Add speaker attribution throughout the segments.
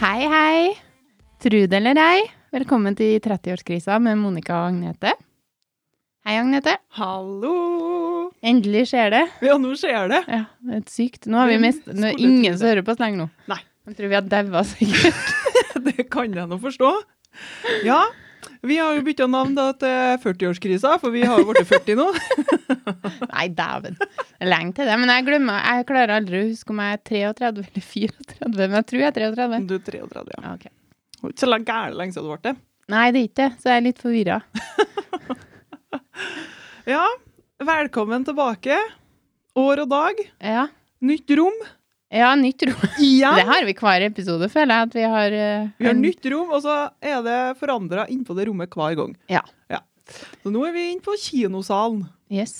Speaker 1: Hei, hei. Trude eller ei, velkommen til 30-årskrisa med Monica og Agnete. Hei, Agnete.
Speaker 2: Hallo!
Speaker 1: Endelig skjer det. Mm,
Speaker 2: Ja, nå skjer det.
Speaker 1: Ja, det er sykt. Nå har vi mest, nå er
Speaker 2: Skulle
Speaker 1: det ingen
Speaker 2: tro
Speaker 1: som hører på oss lenger nå.
Speaker 2: Nei.
Speaker 1: Jeg tror vi har daua sikkert.
Speaker 2: Det kan jeg nå forstå. Ja, vi har jo bytta navn da til 40-årskrisa, for vi har jo blitt 40 nå.
Speaker 1: Nei, dæven. Det er Lenge til det. Men jeg glemmer, jeg klarer aldri å huske om jeg er 33 eller 34, men jeg tror jeg er 33.
Speaker 2: Du er 33, ja.
Speaker 1: Ja, ok.
Speaker 2: Det var ikke så gæren lenge siden du ble det.
Speaker 1: Nei, det er ikke det, så jeg er litt forvirra.
Speaker 2: Ja, velkommen tilbake. År og dag,
Speaker 1: Ja.
Speaker 2: nytt rom.
Speaker 1: ja, nytt rom. Det
Speaker 2: Igjen!
Speaker 1: har vi hver episode, føler jeg. at Vi har, eh,
Speaker 2: Vi har
Speaker 1: en-
Speaker 2: nytt rom, og så er det forandra innpå det rommet hver gang.
Speaker 1: Ja.
Speaker 2: Så nå er vi inne på kinosalen.
Speaker 1: Yes.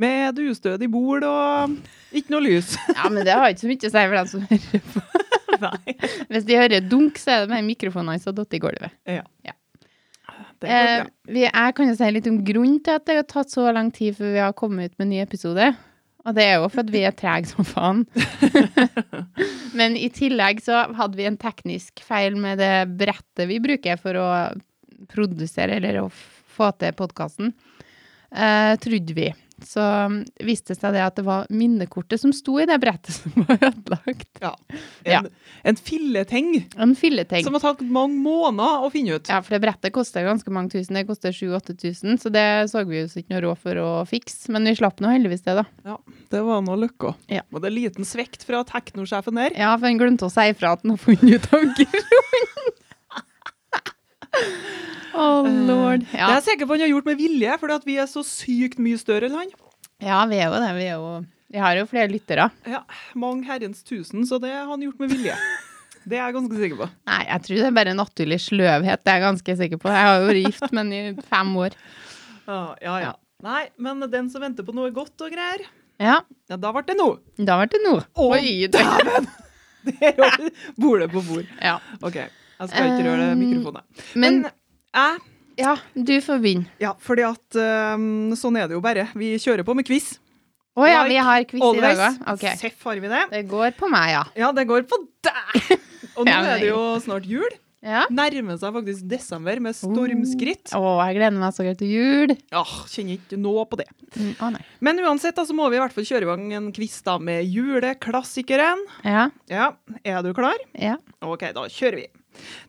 Speaker 2: Med dustødig bord og ikke noe lys.
Speaker 1: Ja, men det har ikke så mye å si for dem som hører på.
Speaker 2: Nei.
Speaker 1: Hvis de hører dunk, så er det med mikrofonene som datt i gulvet.
Speaker 2: Det går
Speaker 1: Eh,
Speaker 2: bra.
Speaker 1: vi, jeg kan jo si litt om grunnen til at det har tatt så lang tid før vi har kommet ut med en ny episode. Og det er jo for at vi er trege som faen. men i tillegg så hadde vi en teknisk feil med det brettet vi bruker for å produsere eller å f- få til podkasten, eh, trodde vi. Så mm, viste det seg det at det var minnekortet som sto i det brettet som var ødelagt.
Speaker 2: En,
Speaker 1: ja.
Speaker 2: en filleteng.
Speaker 1: En filleting.
Speaker 2: Som har tatt mange måneder å finne ut.
Speaker 1: Ja, for det brettet koster ganske mange tusen. Det koster 7000-8000, så det så vi jo ikke noe råd for å fikse. Men vi slapp nå heldigvis det, da.
Speaker 2: Det var noe løkka.
Speaker 1: Ja.
Speaker 2: Og det er liten svekt fra teknosjefen her.
Speaker 1: Ja, for han glemte å si ifra at han har funnet ut av grunnen. oh lord.
Speaker 2: Det er
Speaker 1: Ja.
Speaker 2: Eh, jeg sikker på han har gjort med vilje, fordi at vi er så sykt mye større enn han.
Speaker 1: ja, vi er jo det. Vi er jo Vi har jo flere lyttere.
Speaker 2: Ja, Mange herrens tusen, så det har han gjort med vilje. Det er jeg ganske sikker på.
Speaker 1: Nei, jeg tror det er bare naturlig sløvhet, det er jeg ganske sikker på. Jeg har jo vært gift, men i fem år.
Speaker 2: Ja, ja, ja.
Speaker 1: Ja.
Speaker 2: Nei, men den som venter på noe godt og greier,
Speaker 1: Ja,
Speaker 2: ja, da ble det noe.
Speaker 1: da ble det noe.
Speaker 2: Å,
Speaker 1: det.
Speaker 2: Der var bordet på bord.
Speaker 1: Ja.
Speaker 2: OK, jeg skal ikke røre
Speaker 1: Um,
Speaker 2: mikrofonen. Men
Speaker 1: Men
Speaker 2: jeg
Speaker 1: ja, du får begynne.
Speaker 2: Ja, fordi at øhm, sånn er det jo bare. Vi kjører på med quiz.
Speaker 1: Å ja,
Speaker 2: Like
Speaker 1: vi har quiz i dag
Speaker 2: Always.
Speaker 1: òg. Ok.
Speaker 2: Seff har vi det.
Speaker 1: Det går på meg, ja.
Speaker 2: Ja, det går på deg! Og nå
Speaker 1: Ja, men-
Speaker 2: er det jo snart jul.
Speaker 1: Ja.
Speaker 2: Nærmer seg faktisk desember med stormskritt.
Speaker 1: Å, jeg gleder meg så greit til jul.
Speaker 2: Åh, kjenner ikke nå på det.
Speaker 1: Mm, Å nei.
Speaker 2: Men uansett, da, så må vi i hvert fall kjøre i gang en quiz da med juleklassikeren.
Speaker 1: Ja,
Speaker 2: Ja, er du klar?
Speaker 1: ja.
Speaker 2: Ok, da kjører vi.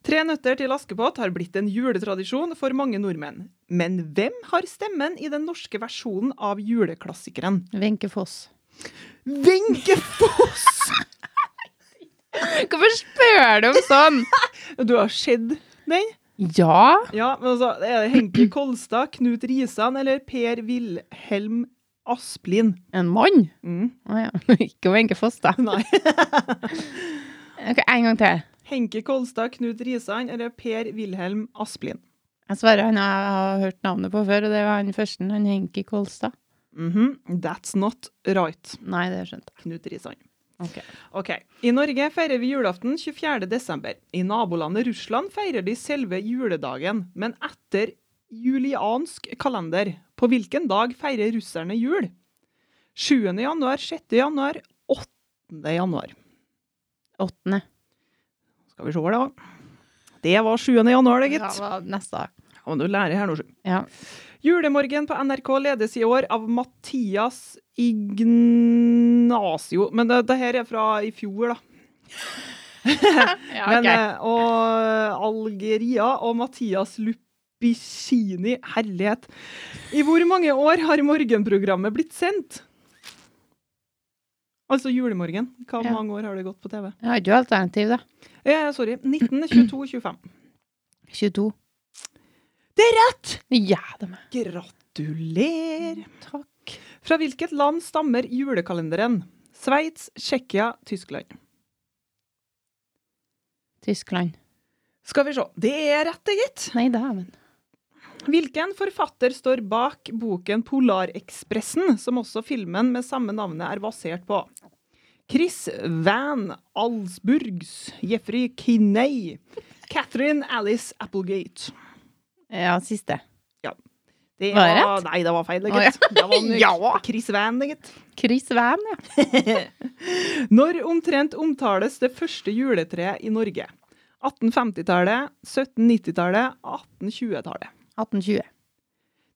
Speaker 2: Tre nøtter til Askepott har blitt en juletradisjon for mange nordmenn. Men hvem har stemmen i den norske versjonen av juleklassikeren?
Speaker 1: Wenche Foss.
Speaker 2: Wenche Foss!
Speaker 1: Hvorfor spør du om sånn?
Speaker 2: Du har sett den?
Speaker 1: Ja.
Speaker 2: Ja, men altså, er det Henke Kolstad, Knut Risan eller Per Wilhelm Asplin?
Speaker 1: En mann?
Speaker 2: Mm,
Speaker 1: Å ja. Ikke Wenche Foss, da.
Speaker 2: nei.
Speaker 1: Ok, En gang til.
Speaker 2: Henke Kolstad, Knut Risan eller Per Wilhelm Asplin?
Speaker 1: Jeg svarer han jeg har hørt navnet på før, og det var han første, han Henki Kolstad.
Speaker 2: Mhm, That's not right,
Speaker 1: Nei, det skjønte jeg.
Speaker 2: Knut Risan.
Speaker 1: Ok.
Speaker 2: Ok, I Norge feirer vi julaften 24. desember. I nabolandet Russland feirer de selve juledagen, men etter juliansk kalender. På hvilken dag feirer russerne jul? 7. januar, 6. januar, 8. januar.
Speaker 1: Åttende.
Speaker 2: Skal vi se det òg. Det var 7. januar, det,
Speaker 1: Ja,
Speaker 2: gitt.
Speaker 1: hva- neste dag.
Speaker 2: Ja, men du lærer her nå, sju.
Speaker 1: Ja.
Speaker 2: Julemorgen på NRK ledes i år av Mathias Ignacio. Men eh, det, det her er fra i fjor, da.
Speaker 1: ja
Speaker 2: Men, eh, og Algeria og Mathias Lupicini. Herlighet. I hvor mange år har morgenprogrammet blitt sendt? Altså julemorgen. Hva
Speaker 1: Ja.
Speaker 2: mange år har det gått på TV?
Speaker 1: Jeg har ikke noe alternativ, da.
Speaker 2: Eh, sorry. 19, 22, 25.
Speaker 1: 22.
Speaker 2: Det er rett!
Speaker 1: Ja, det er meg.
Speaker 2: Gratulerer!
Speaker 1: Takk.
Speaker 2: Fra hvilket land stammer julekalenderen? Sveits, Tsjekkia, Tyskland.
Speaker 1: Tyskland.
Speaker 2: Skal vi se. Det er rett, det, gitt.
Speaker 1: Nei, dæven.
Speaker 2: Hvilken forfatter står bak boken Polarekspressen, som også filmen med samme navnet er basert på? Chris Van Alsburgs, Jeffrey Kinney, Catherine Alice Applegate.
Speaker 1: Ja, siste.
Speaker 2: Det
Speaker 1: Var det
Speaker 2: var- Nei, det var feil, det,
Speaker 1: Å, ja.
Speaker 2: gitt. Det var en-
Speaker 1: Ja.
Speaker 2: Chris Van, det, gitt.
Speaker 1: Chris Van, ja.
Speaker 2: Når omtrent omtales det første juletreet i Norge? 1850-tallet, 1790-tallet, 1820-tallet.
Speaker 1: 1820.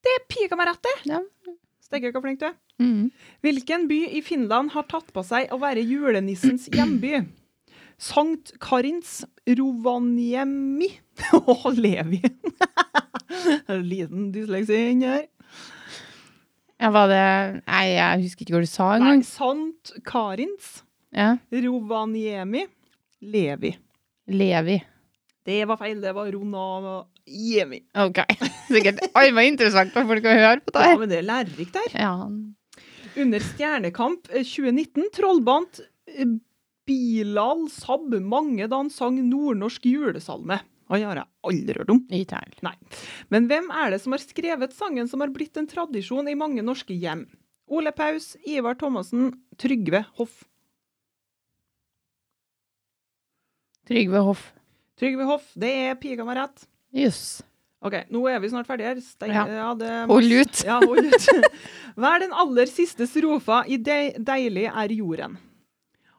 Speaker 2: Det er pika meg rett, det!
Speaker 1: Ja.
Speaker 2: Steike, hvor flink du er.
Speaker 1: Mm.
Speaker 2: Hvilken by i Finland har tatt på seg å være julenissens hjemby? Sankt Karins, Rovaniemi og Levi. En Liten dysleksi inni her.
Speaker 1: Ja, var det Nei, jeg husker ikke hva du sa
Speaker 2: Nei,
Speaker 1: engang.
Speaker 2: Sankt Karins,
Speaker 1: Ja.
Speaker 2: Rovaniemi, Levi.
Speaker 1: Levi.
Speaker 2: Det var feil, det var Ronaniemi.
Speaker 1: OK. Sikkert Oi, var interessant for folk å høre på det
Speaker 2: Ja,
Speaker 1: her.
Speaker 2: men det er lærerikt der.
Speaker 1: Ja.
Speaker 2: Under Stjernekamp eh, 2019 trollbandt eh, Bilal Sabb mange da han sang nordnorsk julesalme. Han har jeg aldri hørt om.
Speaker 1: Ikke heller.
Speaker 2: Men hvem er det som har skrevet sangen som har blitt en tradisjon i mange norske hjem? Ole Paus, Ivar Thomassen, Trygve Hoff.
Speaker 1: Trygve Hoff.
Speaker 2: Trygve Hoff, det er piga meg rett.
Speaker 1: Jøss.
Speaker 2: Ok, nå er vi snart ferdige her. Stein-
Speaker 1: Ja.
Speaker 2: ja, det-
Speaker 1: Hold ut.
Speaker 2: Ja, hold ut. Hva er den aller siste strofa i de Deilig er jorden?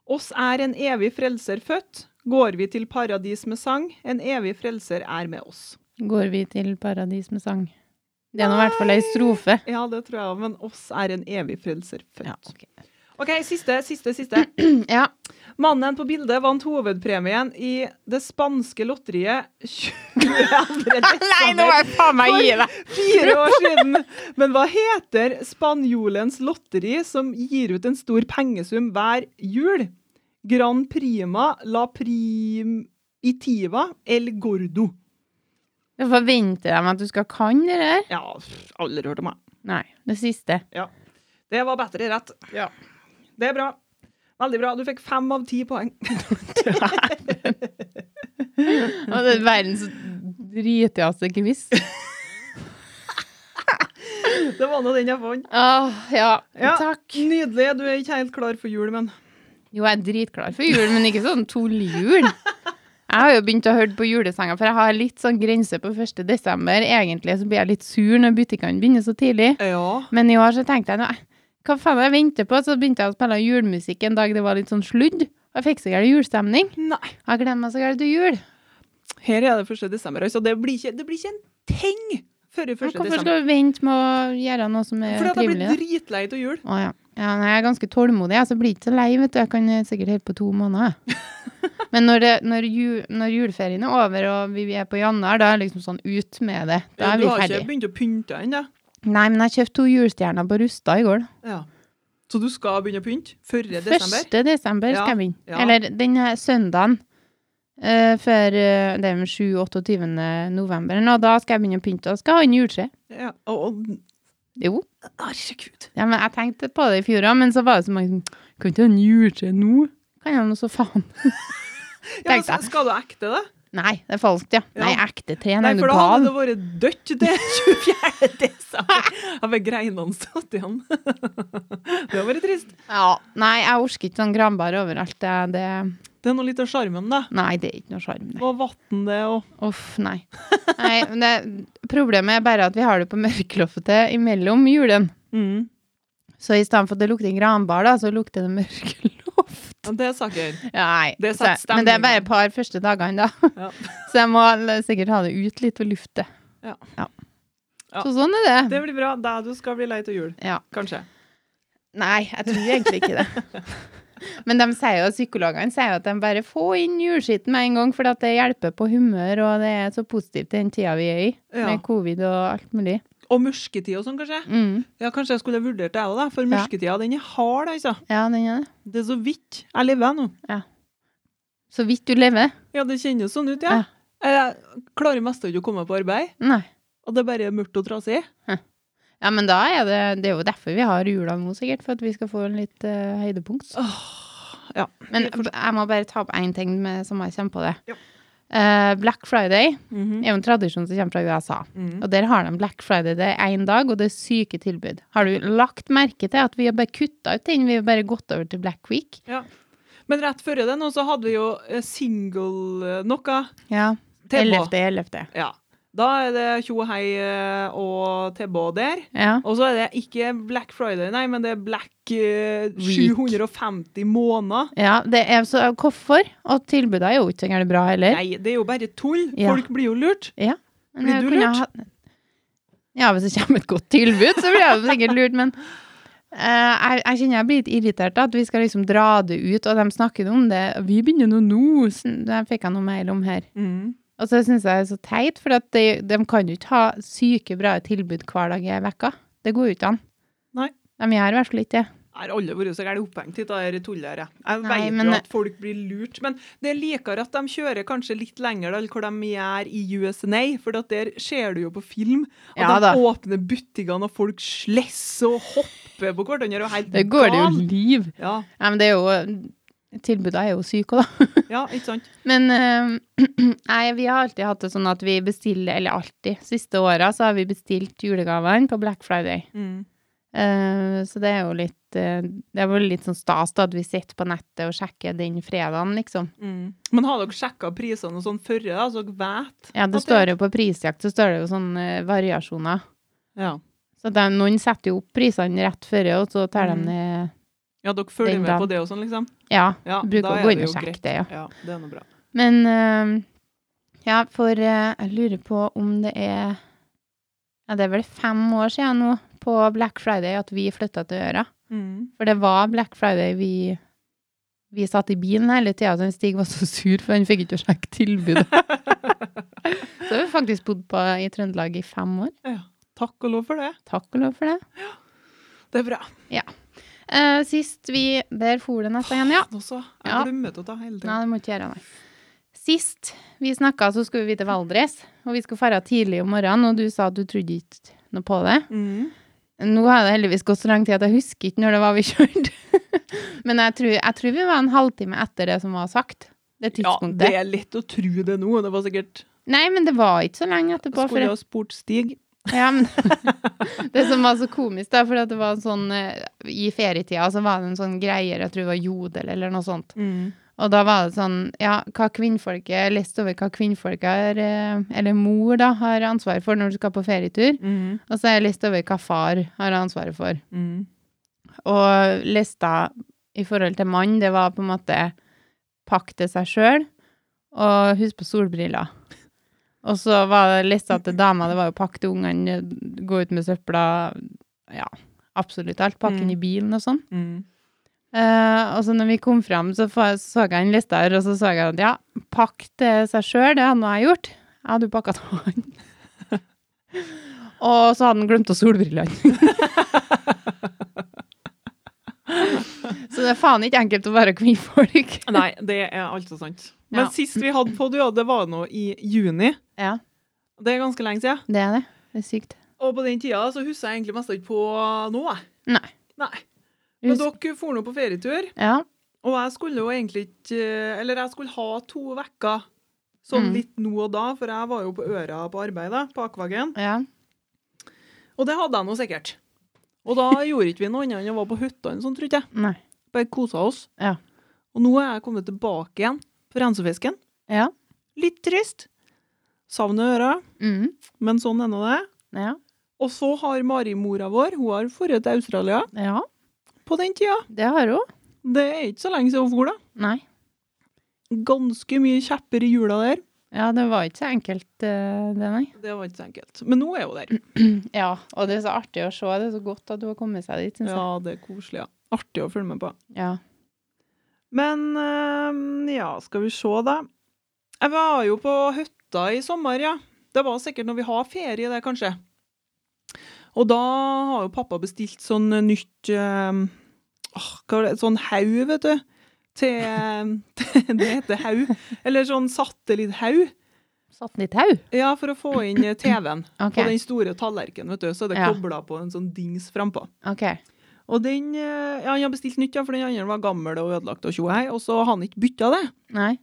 Speaker 2: Oss er en evig frelser født. Går vi til paradis med sang, en evig frelser er med oss.
Speaker 1: Går vi til paradis med sang. Det er nå i hvert fall ei strofe.
Speaker 2: Ja, det tror jeg, men oss er en evig frelser
Speaker 1: Ja,
Speaker 2: født.
Speaker 1: ok.
Speaker 2: OK, siste, siste, siste.
Speaker 1: ja.
Speaker 2: Mannen på bildet vant hovedpremien i det spanske lotteriet 22.
Speaker 1: Nei, nå må
Speaker 2: desember
Speaker 1: jeg faen meg gi deg!
Speaker 2: fire år siden. Men hva heter spanjolens lotteri som gir ut en stor pengesum hver jul? Gran Prima la primitiva el gordo.
Speaker 1: Jeg forventer dem at du skal kan det der.
Speaker 2: Ja, pff, aldri hørt om det.
Speaker 1: Nei, det siste.
Speaker 2: Det var bedre rett.
Speaker 1: Ja.
Speaker 2: Det er bra. Veldig bra. Du fikk fem av ti poeng.
Speaker 1: Og det er verdens dritigaste quiz.
Speaker 2: Det var nå den jeg fant.
Speaker 1: Åh, ja.
Speaker 2: Ja.
Speaker 1: Takk.
Speaker 2: Nydelig. Du er ikke helt klar for jul, men
Speaker 1: Jo, jeg er dritklar for jul, men ikke sånn tullejul. Jeg har jo begynt å høre på julesanger, for jeg har litt sånn grense på 1. desember. Egentlig så blir jeg litt sur når butikkene begynner så tidlig.
Speaker 2: Ja.
Speaker 1: Men i år så tenkte jeg, nei, hva faen jeg venter på? Så begynte jeg å spille julemusikk en dag det var litt sånn sludd. Og jeg fikk så gæren julestemning.
Speaker 2: Nei.
Speaker 1: Jeg gleder meg så gærent til jul.
Speaker 2: Her er det 1. desember, altså. Det blir ikke, det blir ikke en ting før 1.
Speaker 1: Men hvorfor
Speaker 2: desember.
Speaker 1: skal vi vente med å gjøre noe som er
Speaker 2: Fordi at jeg
Speaker 1: Eh, trivelig?
Speaker 2: blir
Speaker 1: da?
Speaker 2: dritlei av jul.
Speaker 1: Å ja. ja nei, jeg er ganske tålmodig, jeg, så blir jeg ikke så lei, vet du. Jeg kan eh, sikkert holde på to måneder. jeg. Men når, det, når, ju, når juleferien er over og vi vi er på januar, da er det liksom sånn ut med det. Da er
Speaker 2: du
Speaker 1: vi
Speaker 2: har ikke
Speaker 1: ferdige.
Speaker 2: begynt å pynte ennå?
Speaker 1: Nei, men jeg kjøpte to julestjerner på Rusta i går. da.
Speaker 2: Ja. Så du skal begynne å pynte? 1. desember?
Speaker 1: 1. desember
Speaker 2: Ja,
Speaker 1: skal jeg begynne.
Speaker 2: ja.
Speaker 1: Eller den her søndagen eh, før eh, det er 7-28. november. eller noe. da skal jeg begynne å pynte. Da skal jeg ha en juletre.
Speaker 2: Ja. Og, og,
Speaker 1: Jo.
Speaker 2: herregud.
Speaker 1: Ja, men jeg tenkte på det i fjor òg, men så var det så mange som Kan ikke ha en juletre nå? Kan jeg nå så faen?
Speaker 2: Ja, men
Speaker 1: Tenkte jeg.
Speaker 2: skal du ekte det?
Speaker 1: Nei, det er falskt, ja.
Speaker 2: Ja.
Speaker 1: Nei, ekte tre. Nei,
Speaker 2: Nei,
Speaker 1: du
Speaker 2: for da
Speaker 1: gal.
Speaker 2: hadde det vært dødt til 24. desember. Hadde greinene stått igjen. Det hadde vært trist.
Speaker 1: Ja. Nei, jeg orker ikke sånn granbar overalt. Det, det,
Speaker 2: Det er nå litt av sjarmen, da.
Speaker 1: nei, det er ikke noe sjarm. nei.
Speaker 2: Og vann, det, og
Speaker 1: Uff, nei. nei men det, problemet er bare at vi har det på mørkloftet imellom julen.
Speaker 2: mm.
Speaker 1: Så i stedet for at det lukter granbar, da, så lukter det mørkloft.
Speaker 2: Ja, Det er saker.
Speaker 1: Nei.
Speaker 2: Det
Speaker 1: så,
Speaker 2: setter
Speaker 1: men det er
Speaker 2: stemningen.
Speaker 1: bare et par første dagene, da.
Speaker 2: Ja.
Speaker 1: Så jeg må l- sikkert ha det ut litt og lufte.
Speaker 2: Ja. Ja.
Speaker 1: Så sånn er det.
Speaker 2: Det blir bra. Da du skal bli lei av jul.
Speaker 1: Ja.
Speaker 2: Kanskje.
Speaker 1: Nei, jeg tror egentlig ikke det. Men de sier jo, psykologene sier jo at de bare får inn juleskitten med en gang, for at det hjelper på humør, og det er så positivt i den tida vi er i,
Speaker 2: Ja.
Speaker 1: med covid og alt mulig.
Speaker 2: Og mørketid og sånn, kanskje?
Speaker 1: Mm.
Speaker 2: Ja, kanskje jeg skulle vurdert det, jeg også, da. For
Speaker 1: Ja.
Speaker 2: mørketida, den er hard, altså.
Speaker 1: Ja, den er det.
Speaker 2: Det er så vidt jeg lever nå.
Speaker 1: Så vidt du lever.
Speaker 2: Ja, det kjennes sånn ut, ja.
Speaker 1: Ja.
Speaker 2: Jeg klarer mest ikke å komme meg på arbeid,
Speaker 1: Nei.
Speaker 2: og det er bare mørkt og trasig.
Speaker 1: Ja, men da er det, det er jo derfor vi har jula nå, sikkert, for at vi skal få en litt eh, høydepunkt.
Speaker 2: ja.
Speaker 1: Men
Speaker 2: Jeg forstår.
Speaker 1: jeg må bare ta opp én ting med, som jeg kommer på det.
Speaker 2: Ja.
Speaker 1: Eh, Black Friday er jo en tradisjon som kommer fra USA.
Speaker 2: Mhm.
Speaker 1: Og der har de Black Friday det er én dag, og det er syke tilbud. Har du lagt merke til at vi har bare kutta ut den? Vi har bare gått over til Black Week?
Speaker 2: Men rett før det nå så hadde vi jo eh, single eh, noe.
Speaker 1: Ja.
Speaker 2: Tema.
Speaker 1: 11. 11.
Speaker 2: Ja. Da er det tjo og hei eh, og tilbå der.
Speaker 1: Ja.
Speaker 2: Og så er det ikke Black Friday, nei, men det er Black eh,
Speaker 1: Week.
Speaker 2: 750 måneder.
Speaker 1: ja det er så hvorfor? Og tilbudet er jo ikke så gærent bra heller.
Speaker 2: Nei, det er jo bare tull.
Speaker 1: Ja.
Speaker 2: Folk blir jo lurt.
Speaker 1: Men
Speaker 2: blir
Speaker 1: jeg
Speaker 2: du
Speaker 1: kunne
Speaker 2: lurt?
Speaker 1: ha- Ja, hvis det kommer et godt tilbud, så blir jeg jo sikkert lurt, men eh, jeg, jeg kjenner jeg blir litt irritert da, at vi skal liksom dra det ut, og de snakker om det. Vi begynner nå nå! sånn, Det fikk jeg noe mail om her.
Speaker 2: Mm.
Speaker 1: Og så syns jeg det er så teit, for at de, de kan jo ikke ha syke bra tilbud hver dag i vekka. Det går jo ikke an.
Speaker 2: Nei.
Speaker 1: De gjør i hvert fall ikke det.
Speaker 2: Jeg har alle vært så gærent opphengt i det her tullet her. jeg. Jeg
Speaker 1: Nei,
Speaker 2: vet
Speaker 1: men-
Speaker 2: jo at folk blir lurt. Men det er likere at de kjører kanskje litt lenger da, eller hva de gjør i USNA, for at der ser du jo på film at
Speaker 1: Ja,
Speaker 2: de
Speaker 1: da.
Speaker 2: åpner butikkene, og folk slesser og hopper på hverandre og er helt
Speaker 1: Det går det jo
Speaker 2: gal.
Speaker 1: liv.
Speaker 2: Ja,
Speaker 1: Nei, men det er jo Tilbudet er jo syke, da.
Speaker 2: ja, ikke sant?
Speaker 1: Men eh, nei, vi har alltid hatt det sånn at vi bestiller, eller alltid, siste åra så har vi bestilt julegavene på Black Friday.
Speaker 2: Mm.
Speaker 1: Eh, så det er jo litt eh, Det er vel litt sånn stas da at vi sitter på nettet og sjekker den fredagen, liksom.
Speaker 2: Mm. Men har dere sjekka prisene og sånn før, da, så dere
Speaker 1: Ja,
Speaker 2: vet?
Speaker 1: det
Speaker 2: at det-
Speaker 1: står jo på prisjakt, så står det jo sånne eh, variasjoner.
Speaker 2: Ja.
Speaker 1: Så det er, noen setter jo opp prisene rett før, og så tar
Speaker 2: Mm.
Speaker 1: de ned
Speaker 2: ja, dere følger
Speaker 1: Den
Speaker 2: med
Speaker 1: dagen.
Speaker 2: på det og sånn, liksom?
Speaker 1: Ja,
Speaker 2: Ja,
Speaker 1: bruker
Speaker 2: da
Speaker 1: å
Speaker 2: er
Speaker 1: gå inn
Speaker 2: det
Speaker 1: og
Speaker 2: jo
Speaker 1: sjekke
Speaker 2: greit.
Speaker 1: det, ja.
Speaker 2: Ja, det er noe bra.
Speaker 1: Men eh, ja, for eh, jeg lurer på om det er Ja, det er vel fem år siden nå, på Black Friday, at vi flytta til Øra.
Speaker 2: Mm.
Speaker 1: For det var Black Friday vi vi satt i bilen hele tida, så Stig var så sur, for han fikk ikke å sjekke tilbudet. så har vi faktisk bodd på, i Trøndelag i fem år.
Speaker 2: Takk og lov for det.
Speaker 1: Takk og lov for det.
Speaker 2: Det er bra.
Speaker 1: Eh, sist vi Der for det nesten igjen, ja.
Speaker 2: Faen også. Jeg
Speaker 1: Ja.
Speaker 2: glemmer det da hele
Speaker 1: Nei,
Speaker 2: tiden.
Speaker 1: det må ikke gjøre nei. Sist vi snakka, så skulle vi til Valdres, og vi skulle dra tidlig om morgenen, og du sa at du trodde ikke noe på det.
Speaker 2: Mm.
Speaker 1: Nå har det heldigvis gått så lang tid at jeg husker ikke når det var vi kjørte. Men jeg tror, jeg tror vi var en halvtime etter det som var sagt. Det
Speaker 2: Ja,
Speaker 1: tidspunktet.
Speaker 2: det er lett å tro det nå. Det var sikkert
Speaker 1: Nei, men det var ikke så lenge etterpå. For
Speaker 2: Skulle ha spurt Stig.
Speaker 1: ja, men, det som var så komisk, da, for at det var en sånn eh, I ferietida så var det en sånn greier, jeg tror det var jodel eller noe sånt. Og da var det sånn, ja, hva kvinnfolket, jeg leste over hva kvinnfolket har, eh, eller mor da, har ansvar for når du skal på ferietur,
Speaker 2: Mm.
Speaker 1: og så har jeg lest over hva far har ansvaret for.
Speaker 2: Mm.
Speaker 1: Og lista i forhold til mann, det var på en måte pakk til seg sjøl, og husk på solbriller. Og så var det lista til dama, det var jo pakk til ungene, gå ut med søpla, ja, absolutt alt, pakke inn i bilen og sånn.
Speaker 2: Mm.
Speaker 1: Eh, og så når vi kom fram, så fa- så jeg en liste her, og så så jeg at ja, pakk til seg sjøl, det hadde nå jeg gjort. Jeg hadde jo pakka til han. og så hadde han glemt å solbrillene. så det er faen ikke enkelt å være kvinnfolk.
Speaker 2: Nei, det er altså sant. Men
Speaker 1: Ja.
Speaker 2: sist vi hadde på Duo, det var nå i juni.
Speaker 1: Ja,
Speaker 2: Det er ganske lenge siden.
Speaker 1: det er det. Det er sykt.
Speaker 2: Og på den tida så husker jeg egentlig mest ikke på noe. jeg.
Speaker 1: Nei.
Speaker 2: Nei. Men
Speaker 1: Husk,
Speaker 2: dere for nå på ferietur,
Speaker 1: ja,
Speaker 2: og jeg skulle jo egentlig ikke Eller jeg skulle ha to uker sånn
Speaker 1: Mm.
Speaker 2: litt nå og da, for jeg var jo på øra på arbeid, da, på Akvagen.
Speaker 1: ja.
Speaker 2: Og det hadde jeg nå sikkert. Og da gjorde ikke vi noe annet enn å være på hytta eller sånn, tror ikke jeg.
Speaker 1: Nei.
Speaker 2: Bare kosa oss.
Speaker 1: Ja.
Speaker 2: Og nå er jeg kommet tilbake igjen på rensefisken.
Speaker 1: Ja.
Speaker 2: Litt trist. Savner øra,
Speaker 1: Mm,
Speaker 2: men sånn er nå det.
Speaker 1: ja.
Speaker 2: Og så har Mari-mora vår, hun har forret til Australia
Speaker 1: ja.
Speaker 2: på den tida.
Speaker 1: Det har hun.
Speaker 2: Det er ikke så lenge siden hun for da.
Speaker 1: Nei.
Speaker 2: Ganske mye kjepper i hjula der.
Speaker 1: Ja, det var ikke så enkelt, eh, det, nei.
Speaker 2: Det var ikke så enkelt. Men nå er hun
Speaker 1: Mm,
Speaker 2: der.
Speaker 1: Ja, og det er så artig å se. Det er så godt at du har kommet seg dit, syns
Speaker 2: Ja, det er koselig. Ja. Artig å følge med på.
Speaker 1: jeg. Ja.
Speaker 2: Men eh, ja, skal vi se da. Jeg var jo på hytta i sommer, ja. Det var sikkert når vi har ferie, det kanskje. Og da har jo pappa bestilt sånn nytt eh, åh, hva var det, Sånn haug, vet du. Til, til Det heter haug. Eller sånn satellitthaug.
Speaker 1: Satt den i tau?
Speaker 2: Ja, for å få inn eh, TV-en
Speaker 1: OK.
Speaker 2: på den store tallerkenen, vet du. Så er det
Speaker 1: Ja.
Speaker 2: kobla på en sånn dings frampå.
Speaker 1: ok.
Speaker 2: Og den eh, Ja, han har bestilt nytt, ja, for den andre var gammel og ødelagt og tjohei, og så har han ikke bytta det.
Speaker 1: Nei.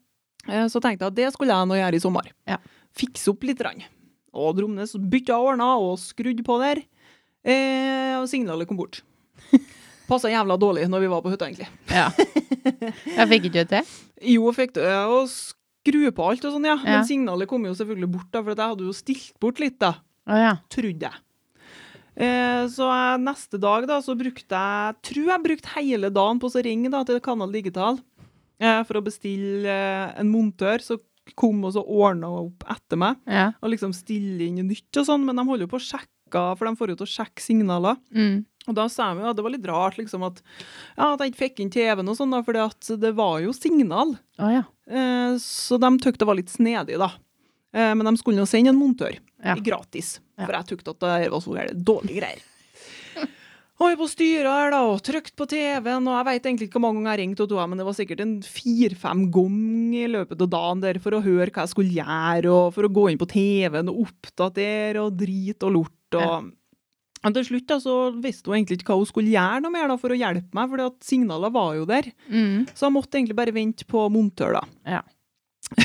Speaker 2: Eh, Så tenkte jeg at det skulle jeg nå gjøre i sommer.
Speaker 1: Ja.
Speaker 2: Fikse opp litt. Rann. Og Dromnes bytta og ordna og skrudde på der. Eh, og signalet kom bort. Passa jævla dårlig når vi var på hytta, egentlig.
Speaker 1: Ja. Jeg fikk ikke det til.
Speaker 2: Jo, fikk det og skru på alt og sånn, ja.
Speaker 1: Ja.
Speaker 2: Men signalet kom jo selvfølgelig bort, da, for at jeg hadde jo stilt bort litt, da.
Speaker 1: Å ja.
Speaker 2: Trodde jeg. Eh, så jeg, neste dag, da, så brukte jeg Tror jeg brukte hele dagen på å ringe da, til Kanal Digital eh, for å bestille eh, en montør. Så kom og så ordna opp etter meg
Speaker 1: ja.
Speaker 2: og liksom stille inn nytt og sånn, men de holder jo på å sjekke, for de får jo til å sjekke signaler.
Speaker 1: Mm.
Speaker 2: Og da sa de jo at det var litt rart liksom at, ja, at jeg ikke fikk inn TV-en og sånn, da, fordi at det var jo signal.
Speaker 1: Å ja.
Speaker 2: Eh, så de tykte det var litt snedig, da. Eh, men de skulle jo sende en montør
Speaker 1: Ja.
Speaker 2: gratis,
Speaker 1: Ja.
Speaker 2: for jeg tykte at det var så gærent dårlige greier. Og jeg på styret her da, og trykt på TV-en, og jeg vet egentlig ikke hvor mange ganger jeg ringte, og tog, men det var sikkert en fire-fem gong i løpet av dagen der for å høre hva jeg skulle gjøre, og for å gå inn på TV-en og oppdatere og drit og lort. Og, og til slutt da, så visste hun egentlig ikke hva hun skulle gjøre noe mer da, for å hjelpe meg, for signalet var jo der.
Speaker 1: Mm.
Speaker 2: Så jeg måtte egentlig bare vente på montør, da.
Speaker 1: Ja.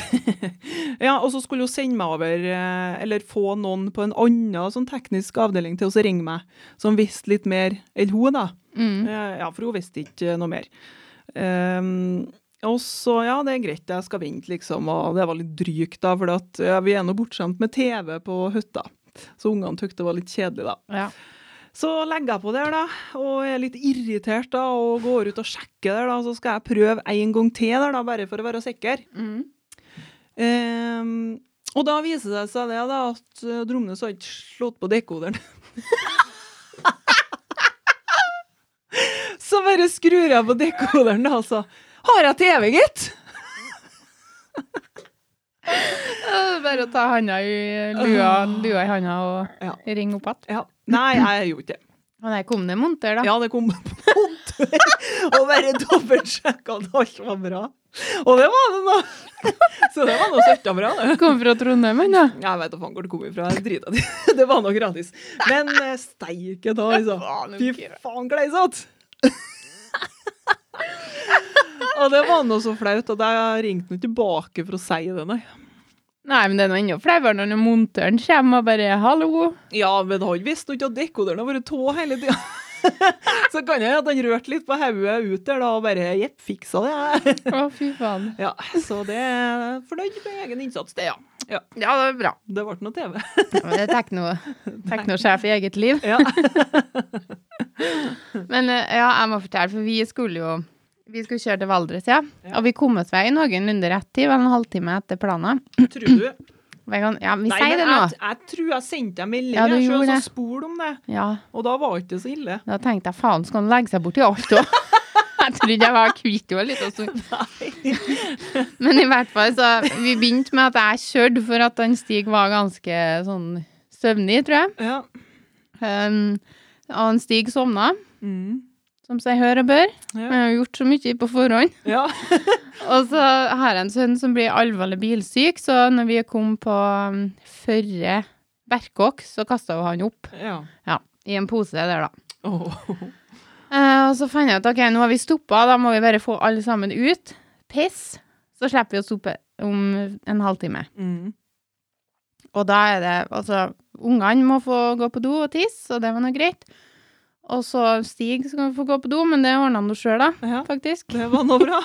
Speaker 2: ja, og så skulle hun sende meg over, eh, eller få noen på en annen sånn teknisk avdeling til å ringe meg, som visste litt mer enn hun, da.
Speaker 1: Mm.
Speaker 2: Eh, Ja, for hun visste ikke noe mer. Ehm, og så, ja, det er greit, jeg skal vente, liksom. Og det var litt drygt, da, for at, ja, vi er nå bortskjemt med TV på hytta. Så ungene syntes det var litt kjedelig, da.
Speaker 1: Ja.
Speaker 2: Så legger jeg på der, da, og er litt irritert da, og går ut og sjekker der, da. Så skal jeg prøve en gang til der, da, bare for å være sikker.
Speaker 1: Mm.
Speaker 2: Ehm, og da viser det seg det, da, at eh, Dromnes har ikke slått på dekoderen. Så bare skrur jeg på dekoderen, da, altså. Har jeg TV, gitt?
Speaker 1: Bare å ta handa i lua, lua i handa og
Speaker 2: Ja.
Speaker 1: ringe opp igjen.
Speaker 2: Ja. Nei, jeg gjorde ikke det.
Speaker 1: Og der kom det monter, da.
Speaker 2: Ja, det kom vondt. Og bare dobbeltsjekka at alt var bra. Og det var det nå. Så det var nå søtta bra, det.
Speaker 1: Kom fra Trondheim, han da.
Speaker 2: Jeg veit da faen hvor det kom ifra. Jeg driter i det. Det var nå gratis. Men eh, steike ta,
Speaker 1: Faen,
Speaker 2: altså. Fy
Speaker 1: ok, da.
Speaker 2: faen, gleisatt! Og det var nå så flaut at jeg ringte nå tilbake for å si det, nei.
Speaker 1: Nei, men det er nå enda flauere når monteren kommer og bare 'hallo'.
Speaker 2: Ja, men han visste jo ikke at dekoderen har vært tå hele tida. Så kan jeg at han rørte litt på hodet ut der da, og bare jepp, fiksa det. jeg».
Speaker 1: Å, fy faen.
Speaker 2: Ja, så det er fornøyd med egen innsats, det, ja. ja.
Speaker 1: Ja, det er bra.
Speaker 2: Det ble noe TV.
Speaker 1: Det er tekno, teknosjef i eget liv.
Speaker 2: Ja.
Speaker 1: Men eh, ja, jeg må fortelle, for vi skulle jo vi skulle kjøre til Valdres, ja.
Speaker 2: Ja.
Speaker 1: Og vi kom oss vei noenlunde rett tid, vel en halvtime etter planen.
Speaker 2: Tror du?
Speaker 1: Og jeg kan- Ja, vi
Speaker 2: Nei,
Speaker 1: sier
Speaker 2: men
Speaker 1: det nå.
Speaker 2: Jeg, jeg tror jeg sendte deg melding,
Speaker 1: Ja, du
Speaker 2: jeg
Speaker 1: gjorde
Speaker 2: sjøl,
Speaker 1: det.
Speaker 2: så spol om det.
Speaker 1: Ja,
Speaker 2: Og da var ikke det så ille.
Speaker 1: da tenkte jeg faen, skal han legge seg borti alt òg? Jeg trodde jeg var kvitt henne litt. og så- Men i hvert fall, så Vi begynte med at jeg kjørte for at han Stig var ganske sånn søvnig, tror jeg.
Speaker 2: Ja.
Speaker 1: Um, og han Stig sovna,
Speaker 2: Mm.
Speaker 1: som seg hør og bør.
Speaker 2: Ja.
Speaker 1: Han har gjort så mye på forhånd.
Speaker 2: ja.
Speaker 1: Og så har jeg en sønn som blir alvorlig bilsyk, så når vi kom på um, Førre Berkåk, så kasta jo han opp
Speaker 2: ja.
Speaker 1: ja, i en pose der, da.
Speaker 2: Åh.
Speaker 1: Eh, og så fant jeg ut ok, nå har vi stoppa, da må vi bare få alle sammen ut. Piss. Så slipper vi å stoppe om en halvtime.
Speaker 2: Mm.
Speaker 1: Og da er det Altså, ungene må få gå på do og tisse, og det var nå greit. Og så Stig skal få gå på do, men det ordna han nå sjøl, da,
Speaker 2: ja.
Speaker 1: faktisk.
Speaker 2: Det var nå bra.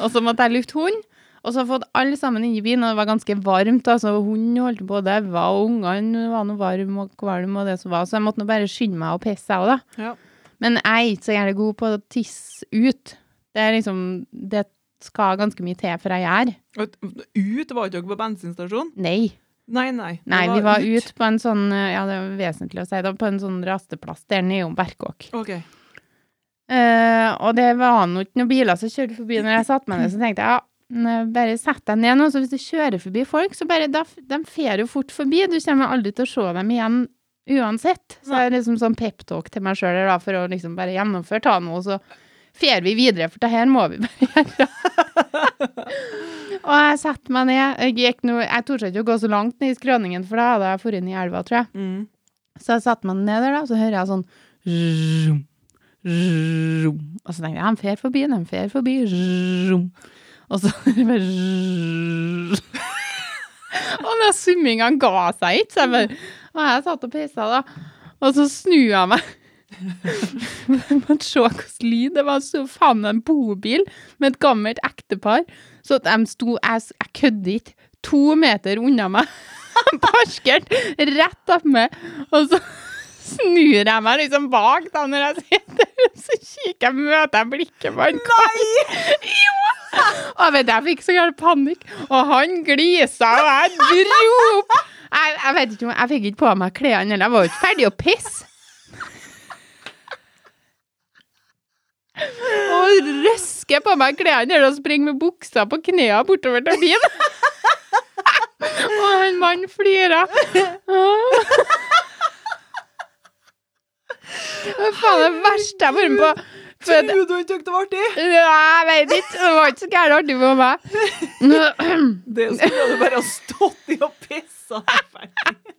Speaker 1: Og så måtte jeg lufte hund. Og så har jeg fått alle sammen inn i bilen, og det var ganske varmt. Altså, hunden holdt på å daue, og ungene var noe varm og kvalm og det som var. Så jeg måtte nå bare skynde meg og pisse, jeg òg, da.
Speaker 2: Ja.
Speaker 1: Men jeg er ikke så gjerne god på å tisse ut. Det er liksom Det skal ganske mye til for jeg gjør.
Speaker 2: Ut ut var ikke dere på bensinstasjonen?
Speaker 1: Nei.
Speaker 2: Nei, nei. Det
Speaker 1: Nei, vi var ute på en sånn Ja, det er vesentlig å si det, på en sånn rasteplass der nede om Berkåk.
Speaker 2: OK.
Speaker 1: Eh, og det var nå ikke noen biler som kjørte forbi når jeg satt meg ned, så tenkte jeg ja, n- bare sett deg ned nå, så hvis du kjører forbi folk, så bare da, f- De fer jo fort forbi, du kommer aldri til å se dem igjen uansett. Så det er liksom sånn peptalk til meg sjøl for å liksom bare gjennomføre ta nå, så fer vi videre, for det her må vi bare gjøre. og jeg satte meg ned. Jeg gikk nå Jeg torde ikke å gå så langt ned i skråningen, for da hadde jeg forrige inn i elva, tror jeg.
Speaker 2: Mm.
Speaker 1: Så jeg satte meg ned der, da, så hører jeg sånn zoom, zoom. Og så tenkte jeg, han fer forbi, han fer forbi. Zoom. Og så hører jeg bare zoom. Og den summinga ga seg ikke, så jeg bare Og jeg satt og pissa, da. Og så snur jeg meg. Man se hvilken lyd det var. Så faen meg en bobil med et gammelt ektepar Så at de sto Jeg, s- jeg kødder ikke. To meter unna meg. Parkert rett opp meg. Og så snur jeg meg liksom bak da når jeg sitter, og så kikker jeg, møter jeg blikket på han Nei! Jo! Og vet du, jeg fikk så klart panikk, og han glisa, og jeg dro opp. Jeg, jeg vet ikke om Jeg fikk ikke på meg klærne heller, jeg var jo ikke ferdig å pisse. Og røsker på meg klærne eller og springer med buksa på knærne bortover til bilen. Og han mannen flirer. Åh. Det er faen det verste jeg har vært med på. For at-
Speaker 2: Tror du han syntes det var artig?
Speaker 1: ja, jeg vet ikke. Det var ikke så gærent artig for meg.
Speaker 2: Det skulle du bare ha stått i og pissa deg ferdig.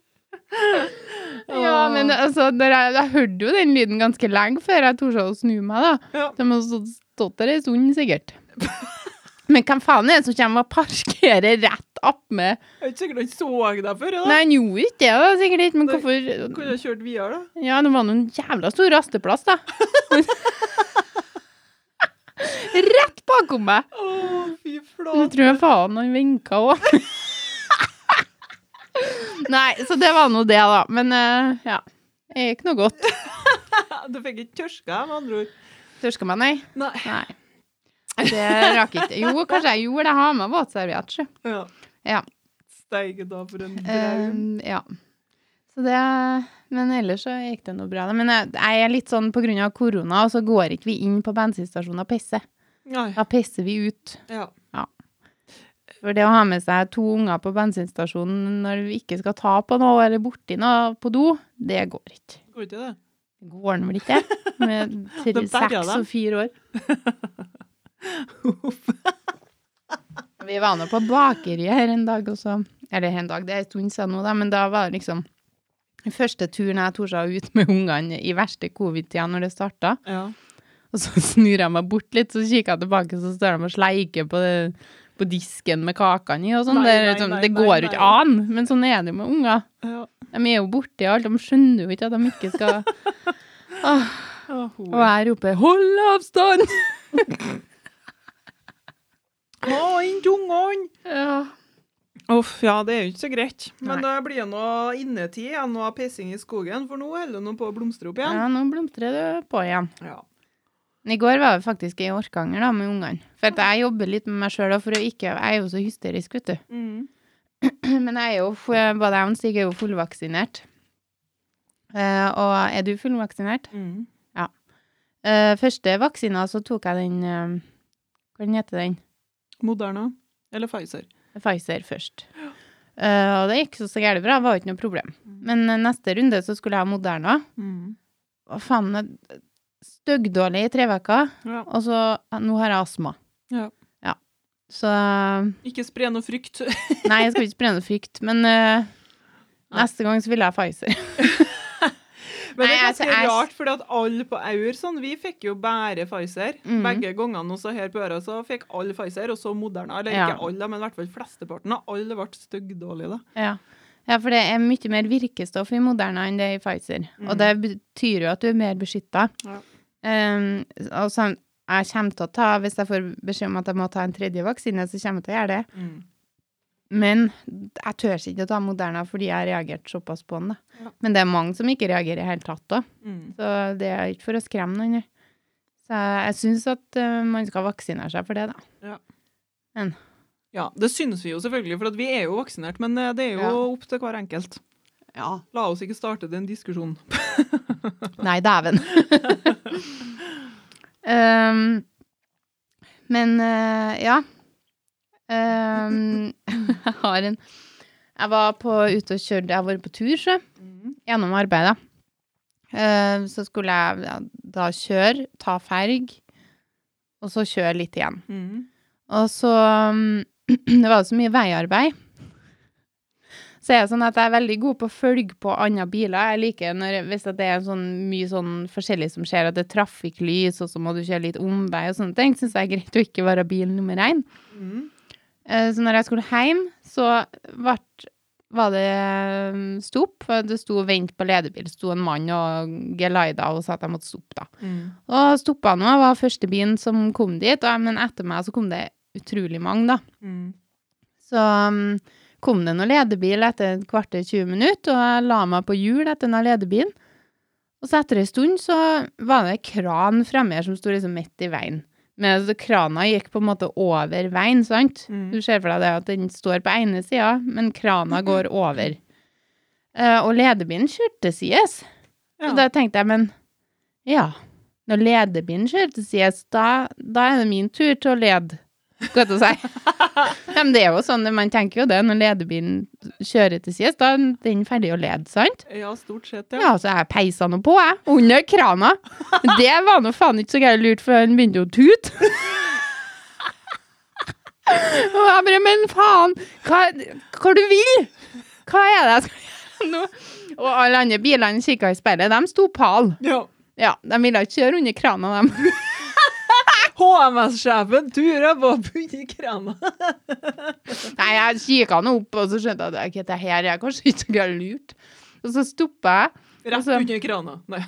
Speaker 1: Ja, men altså, når jeg, jeg hørte jo den lyden ganske lenge før jeg torde å snu meg, da.
Speaker 2: Ja.
Speaker 1: De har stått- stått der en stund, sikkert. Men hvem faen er det som kommer og parkerer rett attmed?
Speaker 2: Jeg er ikke sikkert han så deg før. Da.
Speaker 1: Nei, han gjorde ikke det, da, sikkert ikke, men hvorfor
Speaker 2: Kunne ha kjørt videre, da.
Speaker 1: Ja, det var noen jævla stor rasteplass, da. Rett bakom meg!
Speaker 2: Å, fy
Speaker 1: Jeg
Speaker 2: flate.
Speaker 1: tror jeg faen han vinka òg. Nei, så det var nå det, da. Men eh, ja. Det gikk nå godt.
Speaker 2: Du fikk ikke tørska, med andre ord.
Speaker 1: Tørska meg, nei?
Speaker 2: Nei.
Speaker 1: Nei. Det rakk ikke. Jo, kanskje jeg gjorde det. Jeg har med våtserviett, sjø.
Speaker 2: Ja.
Speaker 1: Ja.
Speaker 2: Steike da for en draum.
Speaker 1: Eh, ja. Så det Men ellers så gikk det nå bra. da. Men jeg, jeg er litt sånn på grunn av korona, og så går ikke vi inn på bensinstasjoner og pisser.
Speaker 2: Nei.
Speaker 1: Da pisser vi ut.
Speaker 2: Ja.
Speaker 1: For det å ha med seg to unger på bensinstasjonen når vi ikke skal ta på noe eller borti noe på do, det går ikke.
Speaker 2: Går ikke det?
Speaker 1: Det Går den vel ikke? Med tre,
Speaker 2: De berga
Speaker 1: seks
Speaker 2: dem.
Speaker 1: og fire år. Vi var nå på bakeriet her en dag også. Eller en dag, det er en stund siden nå, da, men da var det liksom den første turen jeg torde ut med ungene i verste covid-tida når det starta.
Speaker 2: Ja.
Speaker 1: Og så snur jeg meg bort litt, så kikker jeg tilbake, så står de og sleiker på, det- på disken med kakene i og sånn.
Speaker 2: Nei,
Speaker 1: Det, er
Speaker 2: nei,
Speaker 1: liksom-
Speaker 2: nei,
Speaker 1: det
Speaker 2: nei,
Speaker 1: går jo ikke
Speaker 2: nei.
Speaker 1: an, men sånn er det jo med unger.
Speaker 2: ja.
Speaker 1: De er jo borti alt, de skjønner jo ikke at de ikke skal
Speaker 2: Å, hore.
Speaker 1: Og jeg roper 'hold avstand'!
Speaker 2: Å, inn tungene!
Speaker 1: Ja.
Speaker 2: Uff, ja, det er jo ikke så greit. Men
Speaker 1: Nei.
Speaker 2: da blir det noe innetid igjen og pissing i skogen, for nå holder det nå på å blomstre opp igjen.
Speaker 1: ja, nå blomstrer det på igjen.
Speaker 2: Ja.
Speaker 1: I går var vi faktisk i Orkanger da, med ungene. For at jeg jobber litt med meg sjøl, for å ikke, jeg er jo så hysterisk, vet du.
Speaker 2: Mm.
Speaker 1: Men jeg er jo, f- både jeg og Stig er jo fullvaksinert. Eh, og er du fullvaksinert?
Speaker 2: Mm.
Speaker 1: Eh, første vaksina, så tok jeg den eh, Hva den heter den?
Speaker 2: Moderna. Eller Pfizer.
Speaker 1: Pfizer først. Eh, og det gikk så, så gærent bra, det var jo ikke noe problem. Men eh, neste runde så skulle jeg ha Moderna.
Speaker 2: Mm.
Speaker 1: Å, faen, jeg- styggdårlig i tre uker.
Speaker 2: Ja.
Speaker 1: Og så eh, Nå har jeg astma.
Speaker 2: Ja.
Speaker 1: Ja. Så Nei,
Speaker 2: Ikke spre noe frykt.
Speaker 1: jeg skal ikke spre noe frykt, men eh, neste gang så vil jeg ha Pfizer.
Speaker 2: Men det
Speaker 1: Nei,
Speaker 2: er
Speaker 1: altså,
Speaker 2: ganske
Speaker 1: jeg-
Speaker 2: rart, fordi at alle på Aur sånn, vi fikk jo bare Pfizer.
Speaker 1: Mhm.
Speaker 2: Begge gangene også her på Øra så fikk alle Pfizer, og så Moderna. Eller
Speaker 1: Ja.
Speaker 2: ikke alle, da, men i hvert fall flesteparten. da. Alle ble styggdårlige, da.
Speaker 1: Ja. ja, for det er mye mer virkestoff i Moderna enn det er i Pfizer. Og det betyr jo at du er mer beskytta.
Speaker 2: Mm. Ja.
Speaker 1: Um, og sånn, jeg kommer til å ta, hvis jeg får beskjed om at jeg må ta en tredje vaksine, så kommer jeg til å gjøre det.
Speaker 2: Mm.
Speaker 1: Men jeg tør ikke å ta Moderna fordi jeg har reagert såpass på den. da.
Speaker 2: Ja.
Speaker 1: Men det er mange som ikke reagerer i hele tatt da.
Speaker 2: Mm.
Speaker 1: Så det er ikke for å skremme noen. jeg. Så jeg syns at eh, man skal vaksinere seg for det, da.
Speaker 2: Ja, det synes vi jo selvfølgelig, for at vi er jo vaksinert, men eh, det er jo
Speaker 1: Ja.
Speaker 2: opp til hver enkelt.
Speaker 1: Ja.
Speaker 2: La oss ikke starte den diskusjonen.
Speaker 1: Nei, dæven. um, men eh, ja. Um, jeg har en Jeg var på, ute og kjørte Jeg har vært på tur, sjø. Gjennom arbeidet. Eh, så skulle jeg ja, da kjøre, ta ferg, og så kjøre litt igjen.
Speaker 2: Mm.
Speaker 1: Og så um, Det var så mye veiarbeid. Så er det sånn at jeg er veldig god på å følge på andre biler. Jeg liker når, hvis at det er sånn, mye sånn forskjellig som skjer, at det er trafikklys, og så må du kjøre litt omvei og sånne ting, syns jeg er greit å ikke være bil nummer én.
Speaker 2: Mm.
Speaker 1: Eh, Så når jeg skulle hjem, så vart, var det um, stopp. for Det sto 'vent på ledebil'. Det sto en mann og geleida og sa at jeg måtte stoppe, da.
Speaker 2: Mm.
Speaker 1: Og stoppa nå, jeg var første bilen som kom dit, og, men etter meg så kom det utrolig mange, da. Så um, kom det noen ledebil etter et kvarter 20 minutter, og jeg la meg på hjul etter den ledebilen. Og så etter en stund så var det en kran fremme her som sto liksom midt i veien. Men altså, krana gikk på en måte over veien, sant?
Speaker 2: Mm.
Speaker 1: Du ser for deg det at den står på ene sida, men krana går over. Eh, og ledebilen kjørte sides.
Speaker 2: Ja.
Speaker 1: Og da tenkte jeg, men ja, når ledebilen kjører til sides, da, da er det min tur til å lede, skal jeg til å si. Ja, Men det er jo sånn, man tenker jo det, når ledebilen kjører til sides, da er den ferdig å lede, sant?
Speaker 2: ja, stort sett, ja.
Speaker 1: Ja, så jeg peisa nå på, jeg, under krana. Det var nå faen ikke så gærent lurt, for han begynte jo å tute. Og jeg bare, men faen, hva, hva du vil? Hva er det jeg skal gjøre nå? Og alle andre bilene kikka i speilet, de sto pal.
Speaker 2: Ja.
Speaker 1: Ja, de ville ikke kjøre under krana, dem.
Speaker 2: HMS-sjefen turer på bunnen i krana.
Speaker 1: Nei, jeg kikka nå opp, og så skjønte jeg at ok, det her er kanskje ikke så gærent lurt. Og så stoppa jeg,
Speaker 2: Rett
Speaker 1: Altså-
Speaker 2: under krana. Nei.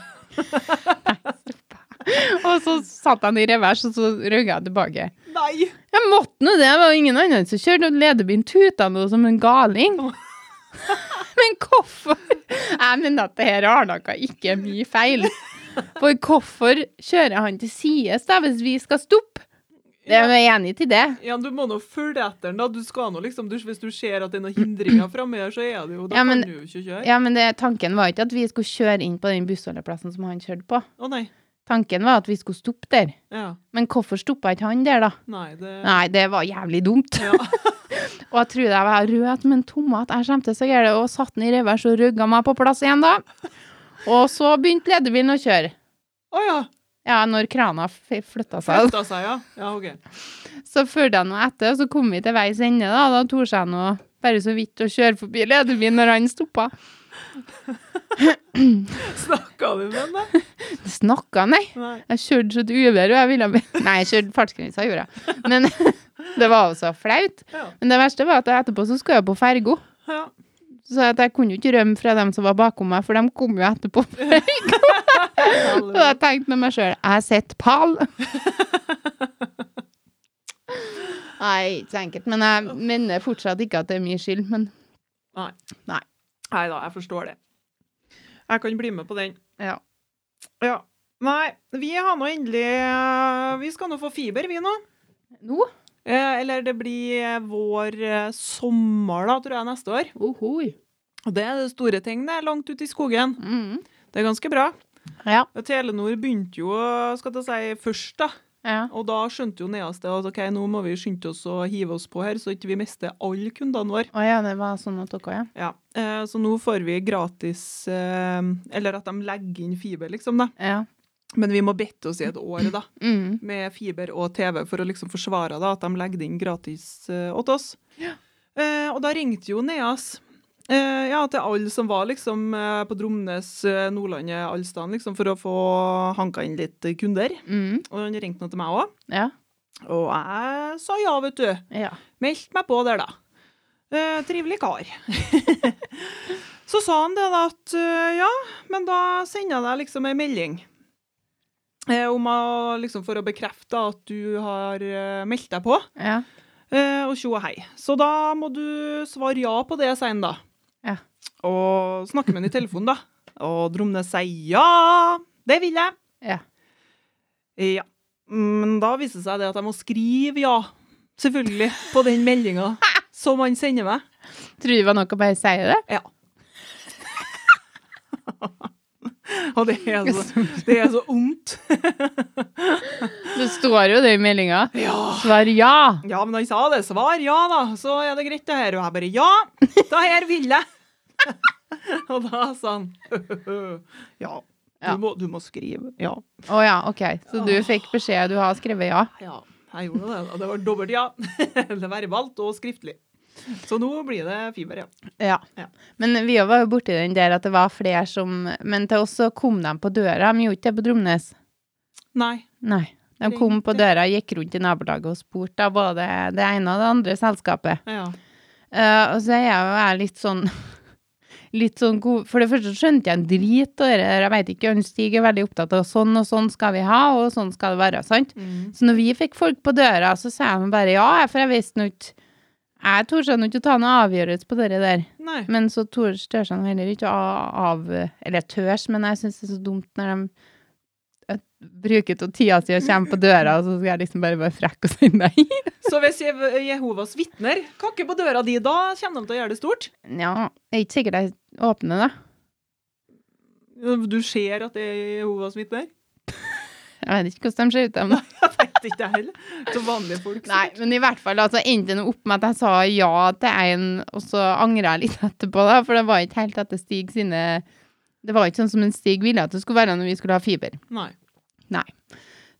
Speaker 1: og så satt han i revers, og så rygga jeg tilbake.
Speaker 2: Nei.
Speaker 1: Jeg måtte nå det, det var ingen andre som kjørte, og ledebilen tuta nå som en galing. Men hvorfor? Jeg mener at det her har noe ikke er mye feil. For hvorfor kjører han til sides da, hvis vi skal stoppe? Det er jeg enig til det.
Speaker 2: Ja, du må nå følge etter den, da. Du skal nå liksom, du, Hvis du ser at det er noen hindringer framme her, så er det jo Da
Speaker 1: Ja, men-
Speaker 2: kan du jo ikke kjøre. Å
Speaker 1: Ja, men det, tanken var ikke at vi skulle kjøre inn på den bussholdeplassen som han kjørte på.
Speaker 2: nei.
Speaker 1: Tanken var at vi skulle stoppe der.
Speaker 2: Ja.
Speaker 1: Men hvorfor stoppa ikke han der, da?
Speaker 2: Nei, det
Speaker 1: Nei, det var jævlig dumt.
Speaker 2: Ja.
Speaker 1: og jeg trodde jeg var rød som en tomat. Jeg skjemte så gærent og satte den i revers og rygga meg på plass igjen, da. Og så begynte ledebilen å kjøre.
Speaker 2: Å ja.
Speaker 1: Ja, når krana f- flytta seg.
Speaker 2: Flytta seg, ja. Ja, OK.
Speaker 1: Så fulgte jeg nå etter, og så kom vi til veis ende, da. Da torde jeg nå bare så vidt å kjøre forbi ledebilen når han stoppa.
Speaker 2: Snakka du med den, da?
Speaker 1: Snakka, nei.
Speaker 2: Nei.
Speaker 1: Jeg kjørte så til uvær, og jeg ville Nei, jeg kjørte fartsgrensa, gjorde jeg. Men det var jo så flaut.
Speaker 2: Ja.
Speaker 1: Men det verste var at jeg etterpå så skulle jeg på ferga.
Speaker 2: ja.
Speaker 1: Så at jeg kunne jo ikke rømme fra dem som var bakom meg, for de kom jo etterpå. Og
Speaker 2: Halleluja.
Speaker 1: jeg tenkte med meg sjøl jeg sitter pal. Nei, ikke så enkelt. Men jeg mener fortsatt ikke at det er min skyld, men
Speaker 2: Nei.
Speaker 1: Nei.
Speaker 2: Nei da, jeg forstår det. Jeg kan bli med på den.
Speaker 1: ja.
Speaker 2: Ja. Nei, vi har nå endelig eh, Vi skal nå få fiber, vi nå.
Speaker 1: Nå?
Speaker 2: Eh, eller det blir vår eh, sommer, da, tror jeg, neste år.
Speaker 1: Ohoi.
Speaker 2: Og det er det store ting, det. er Langt ute i skogen.
Speaker 1: Mm.
Speaker 2: Det er ganske bra.
Speaker 1: Ja.
Speaker 2: Og Telenor begynte jo eh, skal jeg si, først, da.
Speaker 1: ja.
Speaker 2: Og da skjønte jo Neas det at ok, nå må vi skynde oss å hive oss på her, så ikke vi mister alle kundene våre.
Speaker 1: Å ja, det var sånn at dere, ja.
Speaker 2: Ja. Eh, så nå får vi gratis eh, Eller at de legger inn fiber, liksom, da.
Speaker 1: ja.
Speaker 2: Men vi må bette oss i et år, da.
Speaker 1: Mm.
Speaker 2: med fiber og TV for å liksom forsvare da, at de legger det inn gratis eh, åt oss. Eh, og da ringte jo Neas eh, ja, til alle som var liksom eh, på Dromnes, eh, Nordlandet, alle steder, liksom, for å få hanka inn litt eh, kunder.
Speaker 1: Mm.
Speaker 2: Og han ringte nå til meg òg.
Speaker 1: Ja.
Speaker 2: Og jeg sa ja, vet du.
Speaker 1: Ja.
Speaker 2: Meldte meg på der, da. Eh, trivelig kar. så sa han det da at eh, ja, men da sender jeg deg liksom ei melding. Eh, om å, liksom for å bekrefte at du har eh, meldt deg på.
Speaker 1: Ja.
Speaker 2: Eh, og tjo og hei. Så da må du svare ja på det, sier han da.
Speaker 1: Ja.
Speaker 2: Og snakke med han i telefonen, da. Og Dromnes sier ja, det vil jeg.
Speaker 1: Ja.
Speaker 2: Ja. Men da viser det seg det at jeg må skrive ja, selvfølgelig, på den meldinga som han sender meg.
Speaker 1: Tror du det var nok å bare si det?
Speaker 2: Ja. Og det er så, det er så ondt.
Speaker 1: Det står jo det i meldinga.
Speaker 2: Ja.
Speaker 1: Svar ja.
Speaker 2: ja, men han sa det. Svar ja, da. Så er det greit, det her. Og jeg bare ja, det her vil jeg. Og da sa han ja.
Speaker 1: Ja.
Speaker 2: Du må, du må skrive ja.
Speaker 1: Å ja, OK. Så du fikk beskjed, du har skrevet ja?
Speaker 2: Ja, jeg gjorde det. Og det var dobbelt ja. Det verbalt og skriftlig. Så nå blir det fiber, ja.
Speaker 1: Ja.
Speaker 2: Ja.
Speaker 1: Men vi var jo borti den der at det var flere som Men til oss så kom de på døra, de gjorde ikke det på Dromnes.
Speaker 2: Nei.
Speaker 1: Nei. De kom på døra, gikk rundt i nabolaget og spurte da både det ene og det andre selskapet.
Speaker 2: Ja.
Speaker 1: Eh, og så er jeg jo jeg litt sånn litt sånn god For det første så skjønte jeg en drit av det der. Jeg veit ikke, han Stig er veldig opptatt av sånn og sånn skal vi ha, og sånn skal det være. sant? Så når vi fikk folk på døra, så sa de bare ja, jeg, for jeg visste nå ikke Jeg torde nå ikke å ta noen avgjørelse på det der.
Speaker 2: Nei.
Speaker 1: Men så tør tør seg nå heller ikke å av Eller tørs, men jeg syns det er så dumt når de eh, bruker av tida si og kommer på døra, og så skal jeg liksom bare være frekk og si nei.
Speaker 2: Så hvis Jev- Jehovas vitner kakker på døra di, da kommer de til å gjøre det stort?
Speaker 1: Nja, det er ikke sikkert jeg åpner, da.
Speaker 2: Du ser at det er Jehovas vitner?
Speaker 1: Jeg vet ikke hvordan de ser ut, dem, da.
Speaker 2: Jeg vet ikke det heller. Så vanlige folk.
Speaker 1: Nei, men i hvert fall altså, endte det opp med at jeg sa ja til en, og så angra jeg litt etterpå, da, for det var ikke helt etter Stig sine Det var ikke sånn som en Stig ville at det skulle være når vi skulle ha fiber.
Speaker 2: Nei.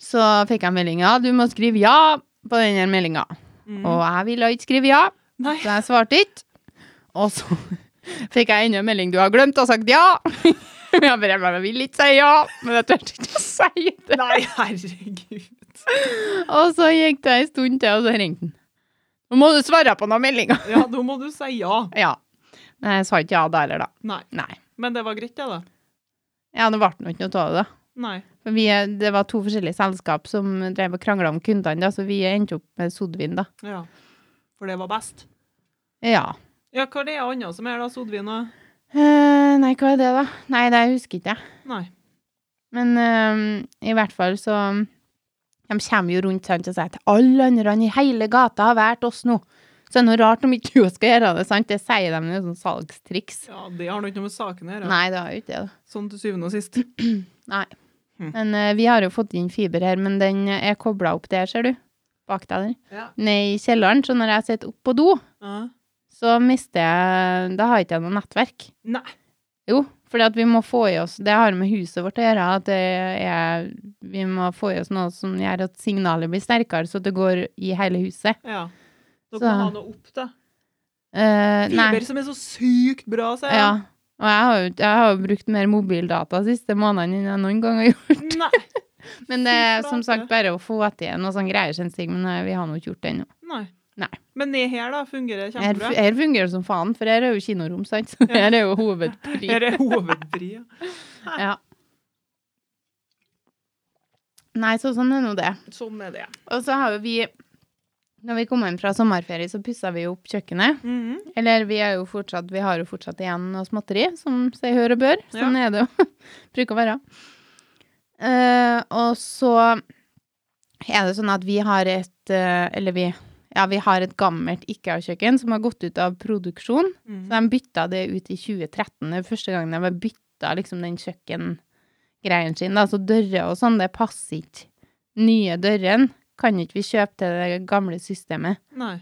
Speaker 1: Så fikk jeg meldinga ja, du må skrive ja på den her meldinga.
Speaker 2: Mm.
Speaker 1: Og jeg ville ikke skrive ja,
Speaker 2: Nei.
Speaker 1: så jeg svarte ikke. Og så fikk jeg enda en melding du har glemt å ha sagt ja. Men jeg bare, jeg vil ikke si ja, men jeg turte ikke å si det.
Speaker 2: Nei, herregud.
Speaker 1: Og så gikk det en stund til, og så ringte han. Nå må du svare på noen meldinger.
Speaker 2: Ja, da må du si ja.
Speaker 1: Ja. Men jeg sa ikke ja da heller, da.
Speaker 2: Nei.
Speaker 1: Nei.
Speaker 2: Men det var greit, det, da.
Speaker 1: Ja, det ble nå ikke noe av det, da.
Speaker 2: Nei.
Speaker 1: For Vi, det var to forskjellige selskap som drev og krangla om kundene, da, så vi endte opp med Sodvin, da.
Speaker 2: Ja. For det var best.
Speaker 1: Ja.
Speaker 2: Ja, hva er det annet som er da, Sodvin? da?
Speaker 1: Eh, nei, hva er det, da? Nei, det husker ikke jeg.
Speaker 2: Nei.
Speaker 1: Men eh, i hvert fall så De kommer jo rundt sant, og sier at alle andre i hele gata har valgt oss nå. Så det er noe rart om ikke du skal gjøre det, sant? Det sier de med sånn salgstriks.
Speaker 2: Ja, det har nå ikke noe med saken å gjøre.
Speaker 1: Nei, det har jo ikke det. da.
Speaker 2: Sånn til syvende og sist.
Speaker 1: Nei.
Speaker 2: Mm.
Speaker 1: Men eh, vi har jo fått inn fiber her, men den er kobla opp der, ser du. Bak deg der.
Speaker 2: Ja.
Speaker 1: Ned i kjelleren. Så når jeg sitter oppe på do,
Speaker 2: Ja.
Speaker 1: så mister jeg Da har jeg ikke noe nettverk.
Speaker 2: Nei.
Speaker 1: Jo, fordi at vi må få i oss Det har med huset vårt å gjøre. At det er, vi må få i oss noe som gjør at signalet blir sterkere, så det går i hele huset.
Speaker 2: Ja. Dere
Speaker 1: Så-
Speaker 2: må ha noe opp, da.
Speaker 1: Eh, nei.
Speaker 2: Fiber som er så sykt bra, sier
Speaker 1: Ja. Og jeg har, jo, jeg har jo brukt mer mobildata de siste månedene enn jeg noen gang har gjort.
Speaker 2: Nei.
Speaker 1: Men det er
Speaker 2: Fy
Speaker 1: som
Speaker 2: flate.
Speaker 1: sagt bare å få til noe sånn greier, kjennes det, men eh, vi har nå ikke gjort det ennå.
Speaker 2: Nei.
Speaker 1: Nei.
Speaker 2: Men ned her, da, fungerer det
Speaker 1: Her,
Speaker 2: kjempebra.
Speaker 1: fu- her fungerer det som faen, for her er jo kinorom, sant? Så her er jo hovedpri.
Speaker 2: Her er hovedbria.
Speaker 1: Ja. Nei, så sånn er nå det.
Speaker 2: Sånn er det.
Speaker 1: Og så har jo vi Når vi kom hjem fra sommerferie, så pussa vi jo opp kjøkkenet.
Speaker 2: Mhm.
Speaker 1: Eller vi, er jo fortsatt, vi har jo fortsatt igjen noe småtteri, som seg hør og bør. Sånn er det jo. Bruker å være. Eh, og så er det sånn at vi har et eh, Eller vi Ja, vi har et gammelt IKEA-kjøkken som har gått ut av produksjon.
Speaker 2: Mhm.
Speaker 1: Så de bytta det ut i 2013. Det er første gang de har bytta liksom den kjøkkengreien sin. Da. Så dører og sånn, det passer ikke. Nye døren kan ikke vi kjøpe til det gamle systemet.
Speaker 2: Nei.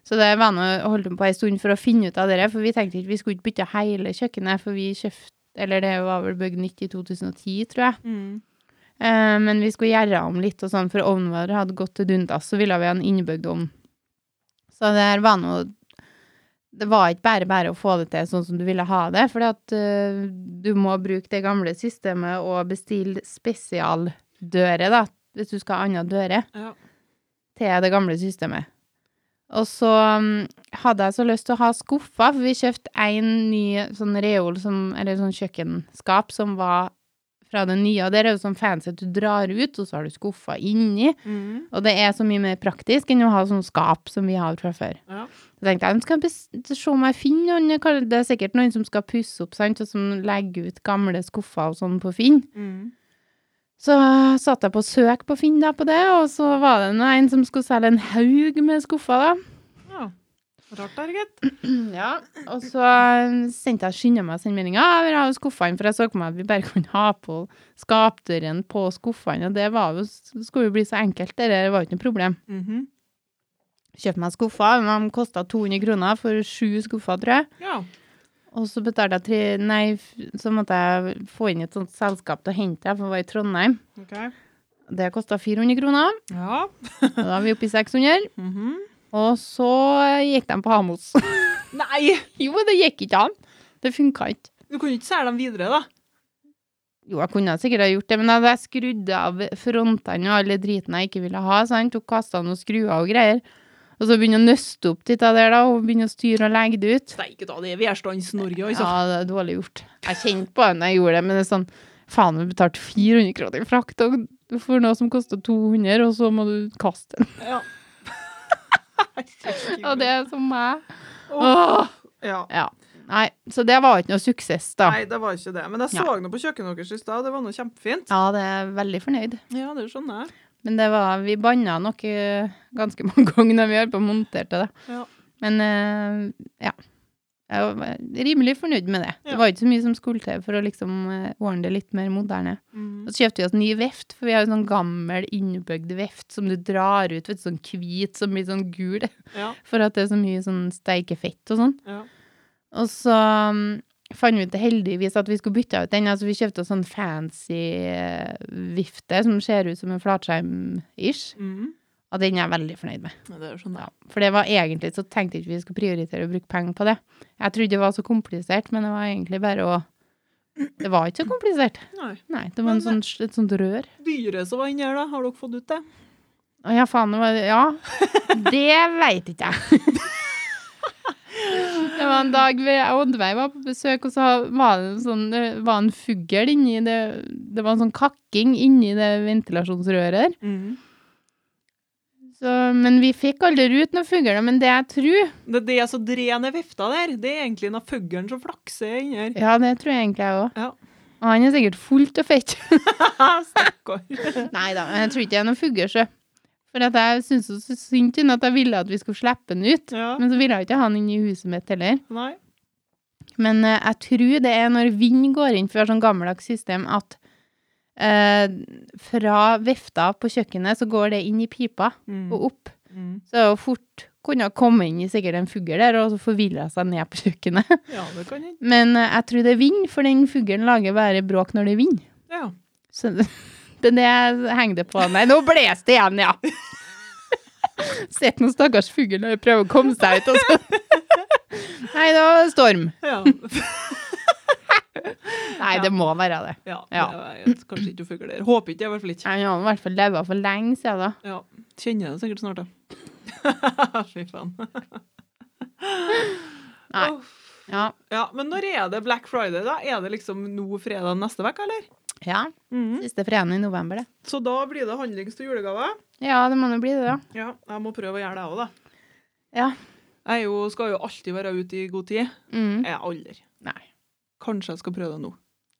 Speaker 1: Så det var nå holdt på en stund for å finne ut av det, for vi tenkte ikke vi skulle ikke bytte hele kjøkkenet, for vi kjøpte eller det var vel bygd nytt i 2010, tror jeg.
Speaker 2: Mhm.
Speaker 1: Eh, men vi skulle gjøre om litt, og sånn, for ovnen vår hadde gått til dundas, så ville vi ha en innebygd ovn. Så det her var noe Det var ikke bare bare å få det til sånn som du ville ha det, for du må bruke det gamle systemet og bestille spesialdører, da, hvis du skal ha annet døre
Speaker 2: Ja.
Speaker 1: til det gamle systemet. Og så mm, hadde jeg så lyst til å ha skuffer, for vi kjøpte en ny sånn reol, som, eller sånn kjøkkenskap, som var fra det nye. Og det er jo sånn fancy at du drar ut, og så har du skuffer inni.
Speaker 2: Mhm.
Speaker 1: Og det er så mye mer praktisk enn å ha sånn skap som vi har fra før.
Speaker 2: Ja.
Speaker 1: Så tenkte jeg, nå skal jeg bes- se om jeg finner noen, Kar- det er sikkert noen som skal pusse opp, sant, og som legger ut gamle skuffer og sånn på Finn.
Speaker 2: Mhm.
Speaker 1: Så satte jeg på søk på Finn da på det, og så var det nå en som skulle selge en haug med skuffer da.
Speaker 2: ja. Rart der, gitt.
Speaker 1: Ja. Og så eh, sendte jeg skynda meg å sende meldinga. Jeg vil ha skuffene, for jeg så på meg at vi bare kunne ha på skapdøren på skuffene, og det var jo, det skulle jo bli så enkelt, det der var jo ikke noe problem.
Speaker 2: Mhm.
Speaker 1: Kjøpte meg skuffer, de kosta 200 kroner for sju skuffer, tror jeg.
Speaker 2: Ja.
Speaker 1: Og så betalte jeg tre, nei, f- så måtte jeg få inn et sånt selskap til å hente, for jeg var i Trondheim.
Speaker 2: OK.
Speaker 1: Det kosta 400 kroner,
Speaker 2: Ja.
Speaker 1: og da er vi oppe i 600.
Speaker 2: Mhm.
Speaker 1: Og så eh, gikk de på Hamos.
Speaker 2: Nei!
Speaker 1: jo, det gikk ikke an. Det funka ikke.
Speaker 2: Du kunne ikke selge dem videre, da.
Speaker 1: Jo, jeg kunne sikkert ha gjort det, men da hadde jeg skrudd av frontene og alle driten jeg ikke ville ha, sant, og kasta noen skruer og greier. Og så begynne å nøste opp dette der, da, og begynne å styre og legge det ut.
Speaker 2: Steike da, det er velstands-Norge, altså.
Speaker 1: Ja, det er dårlig gjort. Jeg kjente på det når jeg gjorde det, men det er sånn Faen, vi betalte 400 kroner i frakt og for noe som kosta 200, og så må du kaste den.
Speaker 2: Ja.
Speaker 1: Og det er som meg.
Speaker 2: Åh,
Speaker 1: Åh!
Speaker 2: ja.
Speaker 1: Ja. Nei, så det var ikke noe suksess, da.
Speaker 2: Nei, det var ikke det. Men jeg så nå på kjøkkenet deres i stad, det var nå kjempefint.
Speaker 1: Ja, det er jeg veldig fornøyd.
Speaker 2: Ja, det skjønner jeg.
Speaker 1: Men det var, vi banna nok eh, ganske mange ganger når vi holdt på å montere det.
Speaker 2: Ja.
Speaker 1: Men eh, ja. Jeg var rimelig fornøyd med det.
Speaker 2: Ja.
Speaker 1: Det var ikke så mye som skulle til for å liksom eh, ordne det litt mer moderne.
Speaker 2: Mm.
Speaker 1: Og så kjøpte vi oss ny veft, for vi har jo sånn gammel innbygd veft som du drar ut, vet du, sånn hvit som blir sånn gul,
Speaker 2: Ja,
Speaker 1: for at det er så mye sånn steikefett og sånn.
Speaker 2: ja.
Speaker 1: Og så mm, fant vi ut heldigvis at vi skulle bytte ut den. Altså, vi kjøpte oss sånn fancy eh, vifte som ser ut som en flatskjerm-ish.
Speaker 2: Mm.
Speaker 1: Og den er jeg veldig fornøyd med.
Speaker 2: Ja, det skjønner
Speaker 1: Ja.
Speaker 2: jeg.
Speaker 1: For det var egentlig så tenkte jeg ikke vi skulle prioritere å bruke penger på det. Jeg trodde det var så komplisert, men det var egentlig bare å Det var ikke så komplisert.
Speaker 2: Nei.
Speaker 1: Nei, det var en sånn, et sånt rør.
Speaker 2: Dyret som var inni her, da, har dere fått ut det?
Speaker 1: Å ja, faen, det var Ja. Det veit ikke jeg. Det var en dag vi- jeg og Oddveig var på besøk, og så var det en, sånn, det var en fugl inni det Det var en sånn kakking inni det ventilasjonsrøret der.
Speaker 2: Mm.
Speaker 1: Så, men vi fikk aldri ut noen fugler. Men det jeg tror
Speaker 2: Det, det som drener vifta der, det er egentlig den fuglen som flakser inni her.
Speaker 1: Ja, det tror jeg egentlig jeg òg.
Speaker 2: Ja.
Speaker 1: Og han er sikkert fullt og fett.
Speaker 2: Stakkar.
Speaker 1: Nei da, men jeg tror ikke det er noen fugler, sjø. For at jeg syntes så- så synd på den at jeg ville at vi skulle slippe den ut.
Speaker 2: Ja.
Speaker 1: Men så ville jeg ikke ha den inn i huset mitt heller.
Speaker 2: Nei.
Speaker 1: Men eh, jeg tror det er når vind går inn, for vi har sånn gammeldags system, at eh, fra vifta på kjøkkenet så går det inn i pipa og opp.
Speaker 2: Mm.
Speaker 1: Så det er jo fort kunne ha kommet inn i sikkert en fugl der, og så forvilla seg ned på kjøkkenet.
Speaker 2: Ja, det kan hende.
Speaker 1: Men eh, jeg tror det er vind, for den fuglen lager bare bråk når det er vind.
Speaker 2: Ja.
Speaker 1: Så det det er det jeg henger det på. Nei, nå blåser det igjen, ja! Sitter noen stakkars fugl og prøver å komme seg ut, og så Nei, det var storm.
Speaker 2: Ja.
Speaker 1: Nei, det må være det.
Speaker 2: ja.
Speaker 1: Ja.
Speaker 2: Jeg vet kanskje ikke fugl der. Håper ikke, i hvert fall ikke.
Speaker 1: Han har i hvert fall levd for lenge siden, da.
Speaker 2: Ja. Kjenner det sikkert snart, da. Fy faen.
Speaker 1: Nei.
Speaker 2: Åh.
Speaker 1: Ja.
Speaker 2: Ja, men når er det Black Friday, da? Er det liksom nå fredag neste uke, eller?
Speaker 1: ja.
Speaker 2: Mm.
Speaker 1: Siste fredagen i november, det.
Speaker 2: Så da blir det handlings til julegave?
Speaker 1: Ja, det må jo bli det, da.
Speaker 2: Ja, jeg må prøve å gjøre det òg, da.
Speaker 1: Ja.
Speaker 2: Jeg er jo, skal jo alltid være ute i god tid.
Speaker 1: Mm.
Speaker 2: Jeg er aldri.
Speaker 1: Nei.
Speaker 2: Kanskje jeg skal prøve det nå.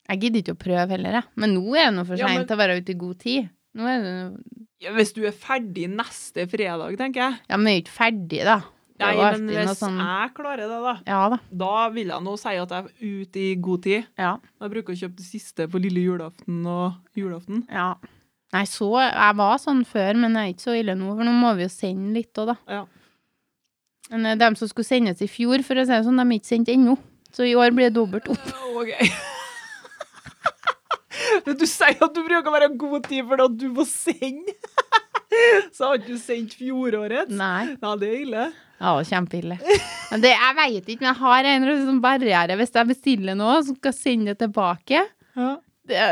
Speaker 1: Jeg gidder ikke å prøve heller, jeg. Men nå er det nå for
Speaker 2: Ja, men-
Speaker 1: seint å være ute i god tid. Nå er det
Speaker 2: Ja, hvis du er ferdig neste fredag, tenker jeg.
Speaker 1: Ja, men vi er jo ikke ferdig, da. Det
Speaker 2: Nei,
Speaker 1: er jo
Speaker 2: men
Speaker 1: alltid noe
Speaker 2: hvis
Speaker 1: sånn
Speaker 2: jeg klarer det, da,
Speaker 1: Ja da.
Speaker 2: da vil jeg nå si at jeg er ute i god tid.
Speaker 1: Ja.
Speaker 2: Jeg bruker å kjøpe det siste på lille julaften og julaften.
Speaker 1: ja. Nei, så Jeg var sånn før, men jeg er ikke så ille nå, for nå må vi jo sende litt òg, da.
Speaker 2: Ja.
Speaker 1: Men eh, dem som skulle sendes i fjor, for å si det sånn, de er ikke sendt ennå. Så i år blir det dobbelt opp.
Speaker 2: OK. Men du sier at du bruker å være i god tid fordi at du må sende. Så har ikke du sendt fjorårets?
Speaker 1: Nei.
Speaker 2: Ja, det er ille.
Speaker 1: Ja, det var kjempeille. Men det, jeg veit ikke, men jeg har en eller annen sånn barriere. Hvis jeg bestiller noe som skal sende det tilbake,
Speaker 2: Ja,
Speaker 1: det,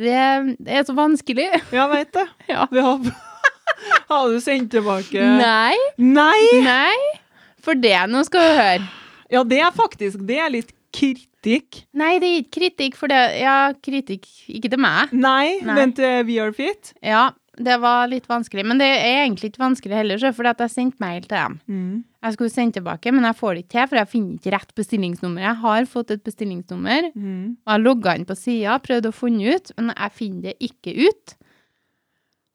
Speaker 1: det, det er så vanskelig.
Speaker 2: jeg vet det.
Speaker 1: Ja.
Speaker 2: Det har, har du sendt tilbake
Speaker 1: Nei,
Speaker 2: Nei!
Speaker 1: nei. For det nå skal du høre.
Speaker 2: Ja, det er faktisk Det er litt kritikk.
Speaker 1: Nei, det er ikke kritikk, for det Ja, kritikk Ikke til meg.
Speaker 2: Nei,
Speaker 1: Nei.
Speaker 2: men til We Are Fit.
Speaker 1: Ja, det var litt vanskelig. Men det er egentlig ikke vanskelig heller, sjø, fordi at jeg sendte mail til dem. Jeg skulle sende tilbake, men jeg får det ikke til, for jeg finner ikke rett bestillingsnummer. Jeg har fått et bestillingsnummer,
Speaker 2: Mm.
Speaker 1: Og jeg logga inn på sida, prøvde å finne ut, men jeg finner det ikke ut.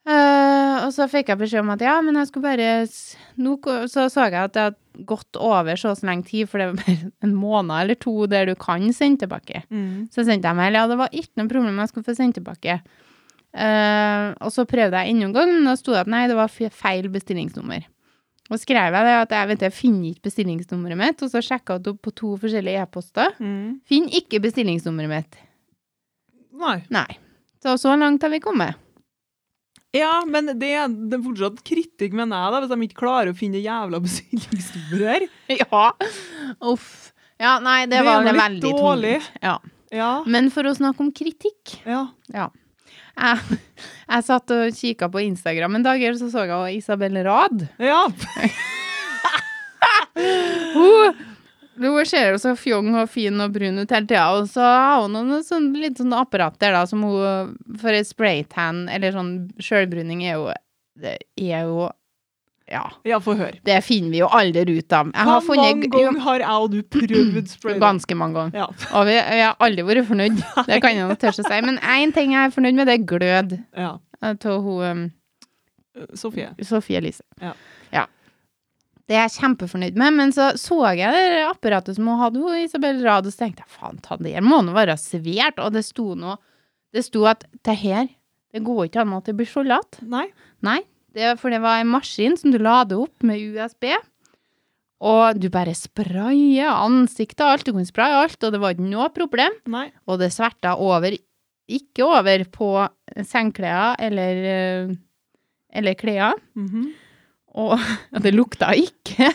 Speaker 1: Eh, og så fikk jeg beskjed om at ja, men jeg skulle bare s- nå, ko- Så så jeg at det hadde gått over så og så lenge tid, for det var bare en måned eller to der du kan sende tilbake. Så sendte jeg mail. Ja, det var ikke noe problem, jeg skulle få sendt tilbake. Eh, og så prøvde jeg enda en gang, men da sto det at nei, det var fe- feil bestillingsnummer. Og skrev jeg det at jeg, vet, du, jeg finner ikke bestillingsnummeret mitt, og så sjekka jeg det opp på to forskjellige e-poster. Finn ikke bestillingsnummeret mitt.
Speaker 2: Nei.
Speaker 1: Nei. Så så langt har vi kommet.
Speaker 2: Ja, men det, er- det er fortsatt kritikk, mener jeg, da, hvis de ikke klarer å finne jævla bestillingsnummeret her.
Speaker 1: Ja. Uff. Ja, nei, det,
Speaker 2: Det
Speaker 1: var
Speaker 2: er jo
Speaker 1: det
Speaker 2: litt
Speaker 1: veldig tungt.
Speaker 2: dårlig.
Speaker 1: Ja.
Speaker 2: Ja.
Speaker 1: Men for å snakke om kritikk
Speaker 2: ja.
Speaker 1: Jeg, jeg satt og kikka på Instagram en dag, og så så jeg også Isabel Rad.
Speaker 2: Ja.
Speaker 1: Hun, hun ser jo så fjong og fin og brun ut hele tida, og så har hun noen sånn, litt sånn apparat der, da, som hun For spraytan, eller sånn sjølbruning, er jo Det er jo Ja.
Speaker 2: Ja, få høre.
Speaker 1: Det finner vi jo aldri ut av. Jeg har
Speaker 2: Hvor mange
Speaker 1: funnet
Speaker 2: ganger har jeg og du prøvd spray?
Speaker 1: ganske mange ganger.
Speaker 2: Ja.
Speaker 1: Og vi, jeg har aldri vært fornøyd. Det kan jeg nok tørre å si. Men én ting jeg er fornøyd med, det er glød
Speaker 2: ja.
Speaker 1: av hun um,
Speaker 2: Sofie.
Speaker 1: Sofie Elise.
Speaker 2: Ja.
Speaker 1: Det er jeg kjempefornøyd med, men så så jeg det apparatet som hun hadde, hun Isabel Rad, og så tenkte jeg faen ta det, her må nå være svært, og det sto noe Det sto at det her, det går ikke an at det blir skjoldete.
Speaker 2: Nei.
Speaker 1: Nei, det, for det var en maskin som du lader opp med USB, og du bare sprayer ansiktet og alt, du kunne spraye alt, og det var ikke noe problem.
Speaker 2: Nei.
Speaker 1: Og det sverta over, ikke over på sengklær eller, eh, eller klær.
Speaker 2: Mhm.
Speaker 1: Og, og det lukta ikke.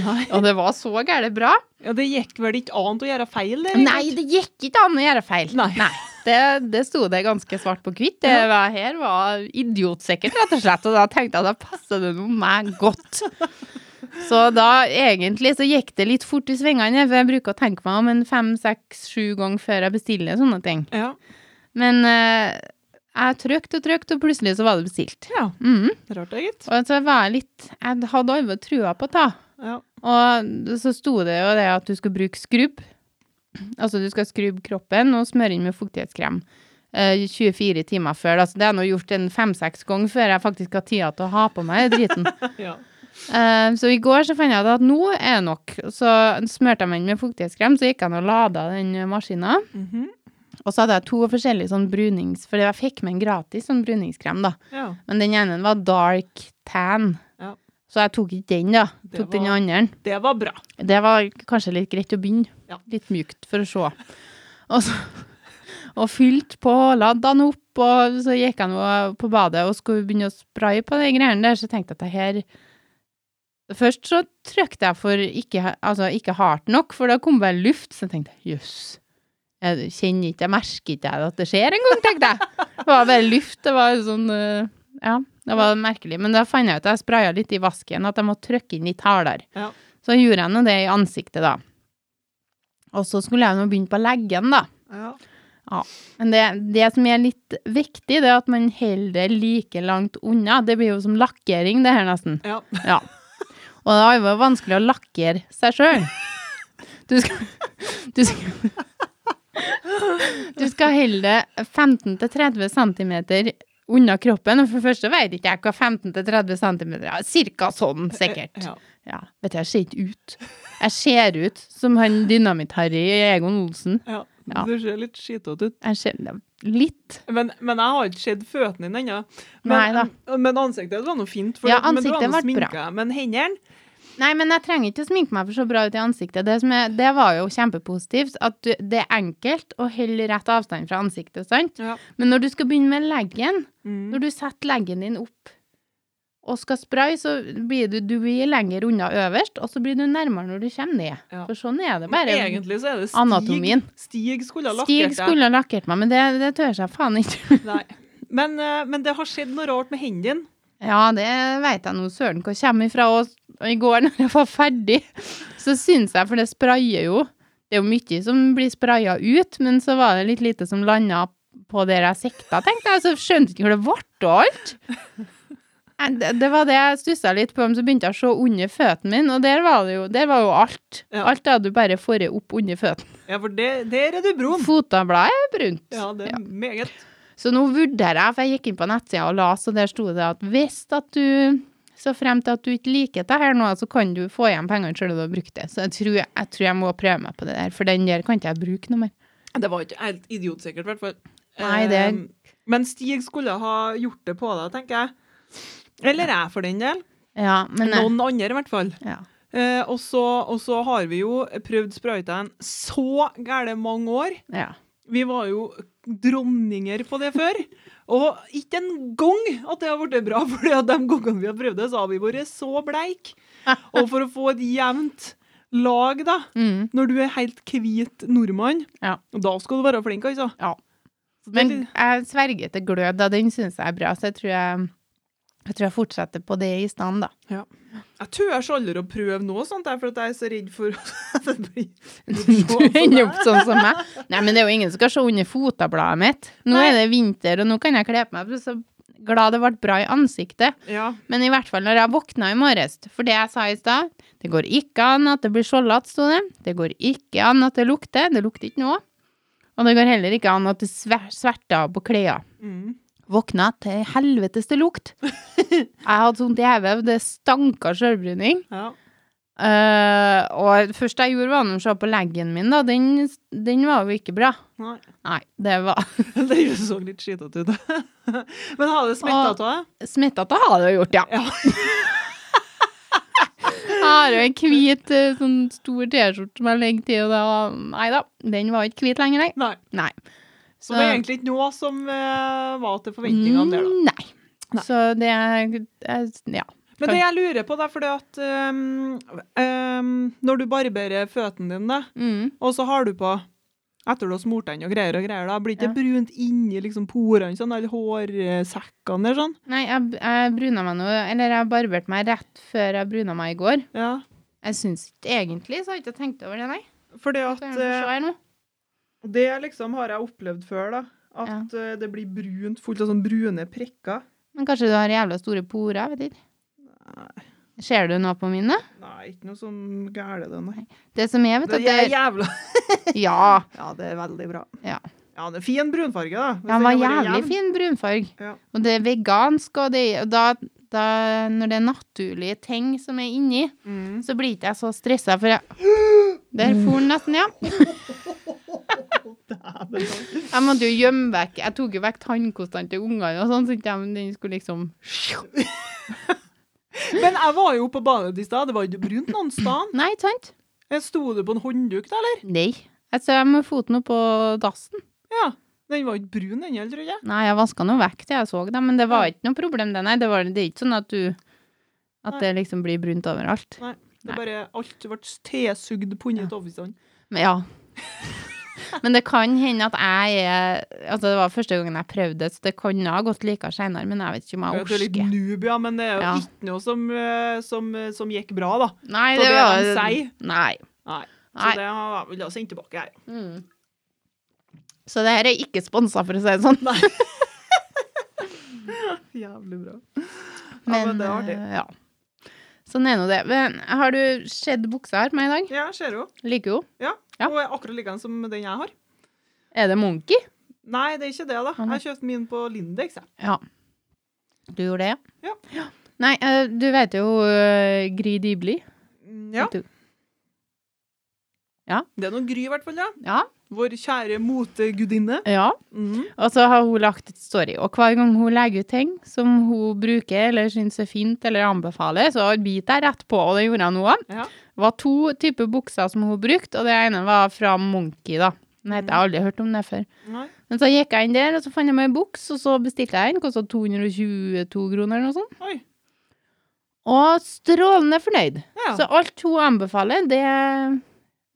Speaker 2: Nei.
Speaker 1: Og det var så gære bra.
Speaker 2: Ja, det gikk vel ikke annet å gjøre feil? der, ikke
Speaker 1: Nei,
Speaker 2: sant?
Speaker 1: det gikk ikke an å gjøre feil.
Speaker 2: Nei.
Speaker 1: Det, det sto det ganske svart på hvitt. Det var, her var idiotsikkert, rett og slett. Og da tenkte jeg da passer det nå meg godt. Så da egentlig så gikk det litt fort i svingene, for jeg bruker å tenke meg om en fem, seks, sju ganger før jeg bestiller sånne ting.
Speaker 2: Ja.
Speaker 1: Men eh, jeg trykte og trykte, og plutselig så var det bestilt.
Speaker 2: ja.
Speaker 1: Mhm.
Speaker 2: Rart det, gitt.
Speaker 1: Og så var jeg litt Jeg hadde aldri trua på det.
Speaker 2: Ja.
Speaker 1: Og så sto det jo det at du skal bruke skrubb. Altså du skal skrubbe kroppen og smøre inn med fuktighetskrem. eh, 24 timer før. Altså, det har jeg nå gjort en fem-seks ganger før jeg faktisk har tida til å ha på meg den driten.
Speaker 2: ja.
Speaker 1: Eh, så i går så fant jeg ut at nå er det nok. Så smørte jeg meg inn med fuktighetskrem, så gikk jeg og lada den maskina.
Speaker 2: Mhm.
Speaker 1: Og så hadde jeg to forskjellige sånn brunings... Fordi jeg fikk med en gratis sånn bruningskrem, da.
Speaker 2: ja.
Speaker 1: Men den ene var dark tan.
Speaker 2: Ja.
Speaker 1: Så jeg tok ikke den, da.
Speaker 2: Det
Speaker 1: Tok den
Speaker 2: var-
Speaker 1: andre.
Speaker 2: Det var bra.
Speaker 1: Det var kanskje litt greit å begynne.
Speaker 2: Ja.
Speaker 1: Litt mjukt for å se. Og, så, og fylte på, ladde den opp, og så gikk jeg nå på badet og skulle begynne å spraye på de greiene der, så tenkte jeg at det her Først så trykte jeg for ikke, altså ikke hardt nok, for da kom bare luft, så jeg tenkte jøss. Jeg kjenner ikke, jeg merker ikke at det skjer engang, tenkte jeg. Det var bare luft, det var sånn eh, Ja, det var merkelig. Men da fant jeg ut at jeg spraya litt i vasken, at jeg må trykke inn litt hardere. Så gjorde jeg nå det i ansiktet, da. Og så skulle jeg nå begynne på leggen, da.
Speaker 2: Ja.
Speaker 1: Men det, det som er litt viktig, det er at man holder det like langt unna. Det blir jo som lakkering, det her, nesten.
Speaker 2: ja.
Speaker 1: Ja. Og det er jo vanskelig å lakkere seg sjøl. Du skal Du skal, du skal holde det 15-30 cm unna kroppen. Og for det første vet ikke jeg hva 15-30 cm er. Cirka sånn, sikkert.
Speaker 2: Ja.
Speaker 1: Ja, vet du, jeg ser ikke ut. Jeg ser ut som han Dynamitt-Harry i Egon Olsen.
Speaker 2: ja.
Speaker 1: Ja.
Speaker 2: Du ser litt skitete ut.
Speaker 1: Jeg ser litt.
Speaker 2: Men, men jeg har ikke sett føttene dine ennå.
Speaker 1: Nei
Speaker 2: Men, men ansiktet var nå fint.
Speaker 1: Ja,
Speaker 2: at- men du har
Speaker 1: ansiktet
Speaker 2: nå
Speaker 1: ble bra.
Speaker 2: sminket, Men hendene
Speaker 1: Nei, men jeg trenger ikke å sminke meg for så bra ut i ansiktet. Det, som er, det var jo kjempepositivt, at du, det er enkelt å holde rett avstand fra ansiktet, sant?
Speaker 2: ja.
Speaker 1: Men når du skal begynne med leggen,
Speaker 2: mm.
Speaker 1: når du setter leggen din opp og skal spraye, så blir du, du blir lenger unna øverst, og så blir du nærmere når du kommer ned.
Speaker 2: Ja.
Speaker 1: For sånn er det
Speaker 2: Men
Speaker 1: bare.
Speaker 2: Egentlig så er det Stig.
Speaker 1: anatomien.
Speaker 2: Stig skulle ha
Speaker 1: Stig
Speaker 2: lakkert deg.
Speaker 1: skulle ha lakkert meg, men det, det tør jeg faen ikke.
Speaker 2: Nei. Men, eh, men det har skjedd noe rart med hendene.
Speaker 1: Ja, det veit jeg nå søren hvor kommer ifra. Og og i går når jeg var ferdig, så syns jeg, for det sprayer jo Det er jo mye som blir spraya ut, men så var det litt lite som landa på der jeg sikta, tenkte jeg. Så skjønte jeg ikke hvor det ble av alt. Nei, Det, det var det jeg stussa litt på, men så begynte jeg å se under føttene mine, og der var det jo, der var jo alt.
Speaker 2: Ja.
Speaker 1: Alt hadde du bare fått opp under føttene.
Speaker 2: Ja, for det, der er du brun.
Speaker 1: Fotabladet er brunt.
Speaker 2: Ja, det er meget.
Speaker 1: Så nå vurderer jeg, for jeg gikk inn på nettsida og las, og der sto det at hvis at du så frem til at du ikke liker det her nå, så kan du få igjen pengene selv om du har brukt det. Så jeg tror jeg, tror jeg må prøve meg på det der, for den der kan ikke jeg bruke noe mer.
Speaker 2: Det var ikke helt idiotsikkert, i hvert fall.
Speaker 1: Nei, det er-
Speaker 2: Eh, Men Stig skulle ha gjort det på deg, tenker jeg. Eller jeg, for den del.
Speaker 1: Ja, men eh,
Speaker 2: Noen andre, i hvert fall.
Speaker 1: ja.
Speaker 2: Eh, og, så, og så har vi jo prøvd spraytan så gæle mange år.
Speaker 1: ja.
Speaker 2: Vi var jo dronninger på det før. Og ikke en gang at det har blitt bra, for de gangene vi har prøvd det, så har vi vært så bleik. Og for å få et jevnt lag, da,
Speaker 1: Mm,
Speaker 2: når du er helt hvit nordmann,
Speaker 1: Ja.
Speaker 2: da skal du være flink, altså.
Speaker 1: ja.
Speaker 2: Så det er
Speaker 1: Men
Speaker 2: litt-
Speaker 1: jeg sverger til glød, da. Den syns jeg er bra, så jeg tror jeg Jeg tror jeg fortsetter på det i stedet, da.
Speaker 2: Jeg tør så aldri å prøve noe sånt, der, for at jeg er så redd for at det blir
Speaker 1: Du ender opp sånn som meg. Nei, men det er jo ingen som skal se under fotabladet mitt. Nå
Speaker 2: Nei.
Speaker 1: er det vinter, og nå kan jeg kle på meg. Så glad det ble bra i ansiktet.
Speaker 2: Ja.
Speaker 1: Men i hvert fall når jeg våkna i morges, for det jeg sa i stad Det går ikke an at det blir skjoldete, sto det. Det går ikke an at det lukter. Det lukter ikke noe. Og det går heller ikke an at det sver- sverter av på klærne.
Speaker 2: Mm.
Speaker 1: Våkna til helvetes det lukt. Jeg hadde sånt i hodet, det stanka sjølbruning.
Speaker 2: ja.
Speaker 1: Eh, og det første jeg gjorde, var å se på leggen min, da. Den, den var jo ikke bra.
Speaker 2: Nei.
Speaker 1: Nei, det var
Speaker 2: Det så litt skitete ut. Men har det
Speaker 1: Ah.
Speaker 2: smitta av deg?
Speaker 1: Smittete har det jo gjort, ja.
Speaker 2: Ja.
Speaker 1: Jeg har jo en hvit eh, sånn stor T-skjorte som jeg legger til, og da Nei da, den var ikke hvit lenger, nei.
Speaker 2: Nei.
Speaker 1: Nei.
Speaker 2: Så det er egentlig ikke noe som eh, var til forventningene der, da.
Speaker 1: Mm, nei.
Speaker 2: Nei.
Speaker 1: Så det er jeg- Ja.
Speaker 2: Men det jeg lurer på, da, fordi at ehm, ehm, når du barberer føttene dine,
Speaker 1: Mm.
Speaker 2: og så har du på etter du har smurt den og greier og greier, da, blir
Speaker 1: Ja.
Speaker 2: ikke det brunt inni liksom, porene sånn, eller hårsekkene eller sånn?
Speaker 1: Nei, jeg, jeg bruna meg nå Eller jeg barberte meg rett før jeg bruna meg i går.
Speaker 2: Ja.
Speaker 1: Jeg syns ikke egentlig, så har jeg ikke tenkt over det, nei.
Speaker 2: Fordi
Speaker 1: Skal
Speaker 2: at
Speaker 1: jeg se
Speaker 2: eh,
Speaker 1: her nå.
Speaker 2: det liksom har jeg opplevd før, da. At eh, det blir brunt, fullt av sånne brune prikker.
Speaker 1: Men kanskje du har jævla store porer, jeg vet ikke. Ser du noe på mine?
Speaker 2: Nei, ikke noe sånn gæle det, nei.
Speaker 1: Det som er, vet du
Speaker 2: Det
Speaker 1: at
Speaker 2: er
Speaker 1: det
Speaker 2: jævla
Speaker 1: Ja.
Speaker 2: Ja, det er veldig bra.
Speaker 1: Ja.
Speaker 2: Ja, det er fin brunfarge, da. Hvis
Speaker 1: Den var
Speaker 2: hadde vært
Speaker 1: jævlig
Speaker 2: jevn.
Speaker 1: fin brunfarge.
Speaker 2: Ja.
Speaker 1: Og det er vegansk, og, det, og da, da Når det er naturlige ting som er inni,
Speaker 2: Mm.
Speaker 1: så blir ikke jeg så stressa, for jeg Der for den nesten, ja.
Speaker 2: Dæven.
Speaker 1: Jeg måtte jo gjemme vekk Jeg tok jo vekk tannkostene til ungene og sånn, så ikke de den skulle liksom
Speaker 2: Men jeg var jo på badet i stad, det var ikke brunt noen sted.
Speaker 1: Nei, ikke sant?
Speaker 2: Jeg Sto du på en håndduk, da, eller?
Speaker 1: Nei. Jeg ser med foten oppå dassen.
Speaker 2: Ja. Den var ikke brun ennå, tror jeg.
Speaker 1: Nei, jeg vaska nå vekk til jeg så det, men det var ikke noe problem, det, nei. Det, var, det er ikke sånn at du At det liksom blir brunt overalt.
Speaker 2: Det bare alt ble tesugd pundet over seg.
Speaker 1: Men ja. Men det kan hende at jeg er Altså, det var første gangen jeg prøvde det, så det kan ha gått likere seinere, men jeg vet ikke om
Speaker 2: Jeg
Speaker 1: jeg
Speaker 2: vet, det er litt
Speaker 1: orker.
Speaker 2: noob, ja, men det er jo
Speaker 1: Ja.
Speaker 2: ikke noe som, eh, som, eh, som gikk bra, da.
Speaker 1: Nei,
Speaker 2: Så
Speaker 1: det
Speaker 2: det
Speaker 1: var
Speaker 2: de sier?
Speaker 1: Nei.
Speaker 2: Nei. Så
Speaker 1: Nei.
Speaker 2: det har jeg vil jeg sende tilbake, jeg.
Speaker 1: Mm. Så det her er ikke sponsa, for å si det sånn.
Speaker 2: Jævlig bra.
Speaker 1: Men,
Speaker 2: ja, men det er artig.
Speaker 1: eh, ja. Sånn er nå det. Men har du sett buksa her på meg i dag?
Speaker 2: Ja, jeg ser jo.
Speaker 1: Liker jo. Ja.
Speaker 2: Og er akkurat likedan som den jeg har.
Speaker 1: Er det Monkey?
Speaker 2: Nei, det er ikke det, da.
Speaker 1: Å, nei.
Speaker 2: Jeg kjøpte min på Lindex, jeg.
Speaker 1: Ja. Du gjorde det,
Speaker 2: Ja.
Speaker 1: Nei, eh, du vet jo uh, Gry Dibli.
Speaker 2: Mm, Ja.
Speaker 1: vet du.
Speaker 2: Det er noen Gry, i hvert fall. Ja.
Speaker 1: Ja.
Speaker 2: Vår kjære motegudinne.
Speaker 1: ja.
Speaker 2: Mm.
Speaker 1: Og så har hun lagt et story. Og hver gang hun legger ut ting som hun bruker eller syns er fint eller anbefaler, så biter jeg rett på, og det gjorde jeg nå òg.
Speaker 2: Ja.
Speaker 1: Det var to typer bukser som hun brukte, og det ene var fra Monkey, da. Den heter jeg har aldri hørt om det før.
Speaker 2: Nei.
Speaker 1: Men så gikk jeg inn der, og så fant jeg meg en buks, og så bestilte jeg en. Kosta 222 kroner eller noe sånt.
Speaker 2: Oi.
Speaker 1: Og strålende fornøyd.
Speaker 2: Ja.
Speaker 1: Så alt hun anbefaler, det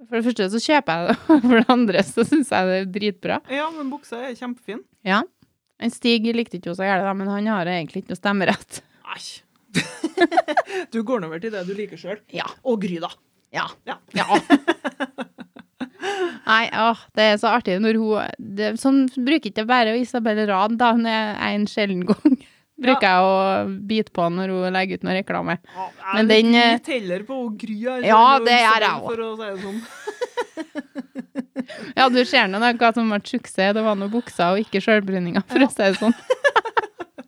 Speaker 1: For det første så kjøper jeg det, og for det andre så syns jeg det er dritbra.
Speaker 2: ja, men buksa er kjempefin.
Speaker 1: Ja. En Stig likte ikke henne så gærent, da, men han har egentlig ikke noe stemmerett.
Speaker 2: Æsj. du går nå over til det du liker sjøl.
Speaker 1: Ja.
Speaker 2: Og Gry, da.
Speaker 1: Ja.
Speaker 2: Ja.
Speaker 1: Nei, åh, det er så artig når hun det, Sånn bruker ikke bare Isabel Rad, da. Hun er en sjelden gang. Bruker jeg å bite på når hun legger ut noe reklame.
Speaker 2: Ja, jeg
Speaker 1: Men
Speaker 2: er litt
Speaker 1: den, eh,
Speaker 2: litt heller på og Gry. jeg,
Speaker 1: Ja,
Speaker 2: sånn,
Speaker 1: det er jeg
Speaker 2: sånn,
Speaker 1: også.
Speaker 2: For å si det sånn.
Speaker 1: Ja, du ser nå da hva som ble suksess. Det var noe buksa og ikke sjølbruninga, for å si det sånn.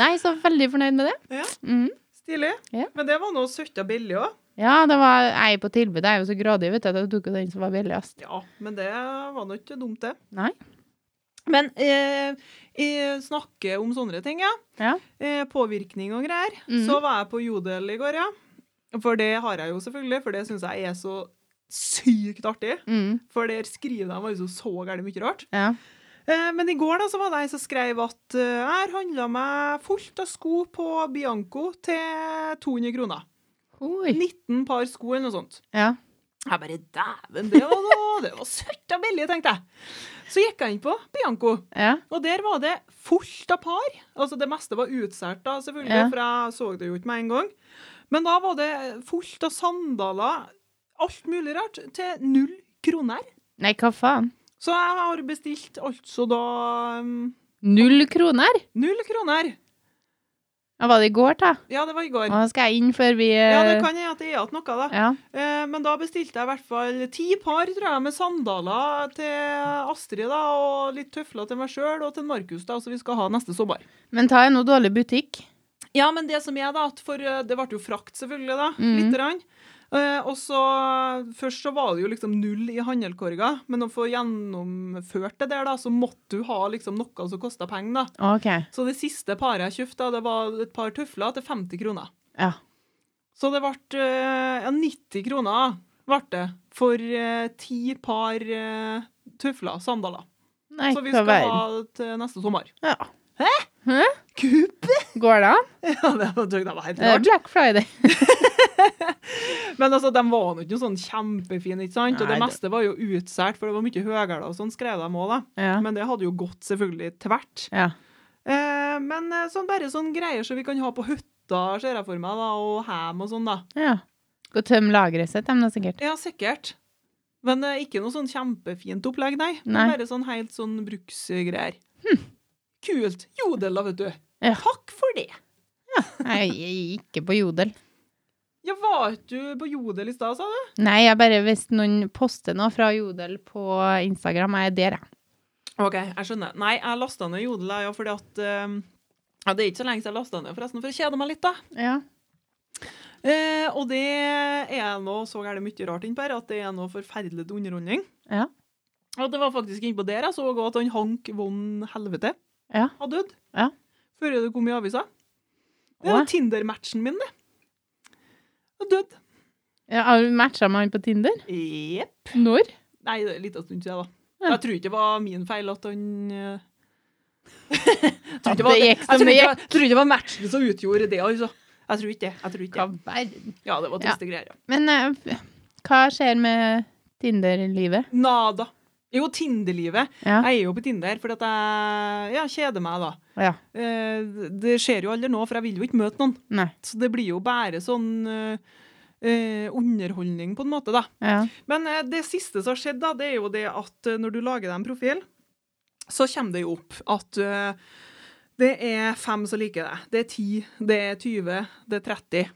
Speaker 1: Nei, så veldig fornøyd med det.
Speaker 2: Ja.
Speaker 1: Mm.
Speaker 2: Stilig.
Speaker 1: Ja.
Speaker 2: Men det var noe søtt og billig òg.
Speaker 1: Ja, det var ei på tilbud. Jeg er jo så grådig, vet du, at jeg tok jo den som var billigst.
Speaker 2: Ja, men det var nå ikke dumt, det.
Speaker 1: Nei.
Speaker 2: Men eh, jeg snakker om sånne ting, ja.
Speaker 1: Ja.
Speaker 2: Eh, påvirkning og greier.
Speaker 1: Mhm.
Speaker 2: Så var jeg på Jodel i går, ja. For det har jeg jo selvfølgelig, for det syns jeg er så sykt artig.
Speaker 1: Mm.
Speaker 2: For der skriver de altså så gærent mye rart.
Speaker 1: Ja.
Speaker 2: Eh, Men i går da, så var det ei som skrev at eh, her handla meg fullt av sko på Bianco til 200 kroner.
Speaker 1: Oi.
Speaker 2: 19 par sko eller noe sånt.
Speaker 1: Ja.
Speaker 2: Jeg bare Dæven, det var, da- det var søtt og billig, tenkte jeg. Så gikk jeg inn på Bianco,
Speaker 1: Ja.
Speaker 2: og der var det fullt av par. Altså Det meste var utsolgt, da, selvfølgelig,
Speaker 1: Ja.
Speaker 2: for jeg så det jo ikke med en gang. Men da var det fullt av sandaler, alt mulig rart, til null kroner.
Speaker 1: Nei, hva faen?
Speaker 2: Så jeg har bestilt altså da um,
Speaker 1: Null kroner?
Speaker 2: null kroner.
Speaker 1: Ja, var det i går, da?
Speaker 2: Ja, det var i
Speaker 1: Og
Speaker 2: går.
Speaker 1: da skal jeg inn før vi
Speaker 2: Ja, det kan hende at det er igjen noe, da.
Speaker 1: Ja.
Speaker 2: Eh, Men da bestilte jeg i hvert fall ti par tror jeg, med sandaler til Astrid da, og litt tøfler til meg sjøl og til Markus, da, så vi skal ha neste sommer.
Speaker 1: Men ta en noe dårlig butikk.
Speaker 2: Ja, men det som er da, at for eh, det ble jo frakt selvfølgelig da,
Speaker 1: Mhm.
Speaker 2: lite grann. Eh, og så Først så var det jo liksom null i handelkorga, men å få gjennomført det der, da, så måtte du ha liksom noe som kosta penger. da.
Speaker 1: OK.
Speaker 2: Så det siste paret jeg kjøpte, da, det var et par tøfler til 50 kroner.
Speaker 1: Ja.
Speaker 2: Så det ble eh, ja, 90 kroner ble det for eh, ti par eh, tøfler, sandaler.
Speaker 1: Nei,
Speaker 2: så vi
Speaker 1: hva
Speaker 2: skal ha
Speaker 1: verden.
Speaker 2: til neste sommer.
Speaker 1: Ja.
Speaker 2: Kup!
Speaker 1: Går det an?
Speaker 2: Ja, det var, det var helt
Speaker 1: Det er
Speaker 2: rart.
Speaker 1: Black Friday.
Speaker 2: Men altså, de var nå ikke sånn kjempefine, ikke sant? Og det
Speaker 1: Nei, det-
Speaker 2: meste var jo utsolgt, for det var mye høyere og sånn, skrev de òg, da.
Speaker 1: Ja.
Speaker 2: Men det hadde jo gått selvfølgelig tvert.
Speaker 1: ja.
Speaker 2: Eh, men eh, sånn, bare sånn greier som vi kan ha på hytta, ser jeg for meg, da, og hjem og sånn, da.
Speaker 1: ja. Gå og tøm lageret sitt, de da, sikkert.
Speaker 2: Ja, sikkert. Men eh, ikke noe sånn kjempefint opplegg, nei. Hm. Det er
Speaker 1: Nei.
Speaker 2: Bare sånn helt sånn bruksgreier. Kult. Jodel, da, vet du.
Speaker 1: Ja.
Speaker 2: Takk for det.
Speaker 1: Nei, jeg er ikke på Jodel.
Speaker 2: Ja, var ikke du på Jodel i stad, sa du?
Speaker 1: Nei, jeg bare hvis noen poster noe fra Jodel på Instagram, jeg er der, jeg.
Speaker 2: OK, jeg skjønner. Nei, jeg lasta ned Jodel, jeg, ja, fordi at eh, ja, Det er ikke så lenge siden jeg lasta ned, forresten, for å kjede meg litt, da.
Speaker 1: Ja.
Speaker 2: Eh, og det er nå så gærent mye rart innpå her at det er noe forferdelig til underholdning.
Speaker 1: Ja.
Speaker 2: Og det var faktisk innpå der jeg så også at han Hank von Helvete
Speaker 1: Ja.
Speaker 2: har dødd.
Speaker 1: Ja.
Speaker 2: Før det kom i avisa. Det er
Speaker 1: Åh.
Speaker 2: jo Tinder-matchen min, det. Han er død.
Speaker 1: Ja, har du matcha med han på Tinder?
Speaker 2: Jepp.
Speaker 1: Når?
Speaker 2: Nei, det er en liten stund siden, da.
Speaker 1: Ja.
Speaker 2: Jeg tror ikke det var min feil at han eh, Jeg tror
Speaker 1: At
Speaker 2: ikke det var-
Speaker 1: det gikk
Speaker 2: jeg
Speaker 1: som
Speaker 2: tror
Speaker 1: det
Speaker 2: ikke var- jeg tror ikke det var matchen som utgjorde det, altså. Jeg tror ikke det. Jeg tror ikke
Speaker 1: Hva
Speaker 2: det.
Speaker 1: verden?
Speaker 2: Ja, det var triste greier. ja.
Speaker 1: Men eh, hva skjer med Tinder-livet?
Speaker 2: Nada. Jo, Tinder-livet.
Speaker 1: Ja.
Speaker 2: Jeg er jo på Tinder fordi at jeg ja, kjeder meg, da.
Speaker 1: ja.
Speaker 2: Eh, Det skjer jo aldri nå, for jeg vil jo ikke møte noen.
Speaker 1: Nei.
Speaker 2: Så det blir jo bare sånn eh, eh, underholdning, på en måte, da.
Speaker 1: Ja.
Speaker 2: Men eh, det siste som har skjedd, da, det er jo det at eh, når du lager deg en profil, så kommer det jo opp at eh, det er fem som liker deg. Det er ti, det er 20, det er 30.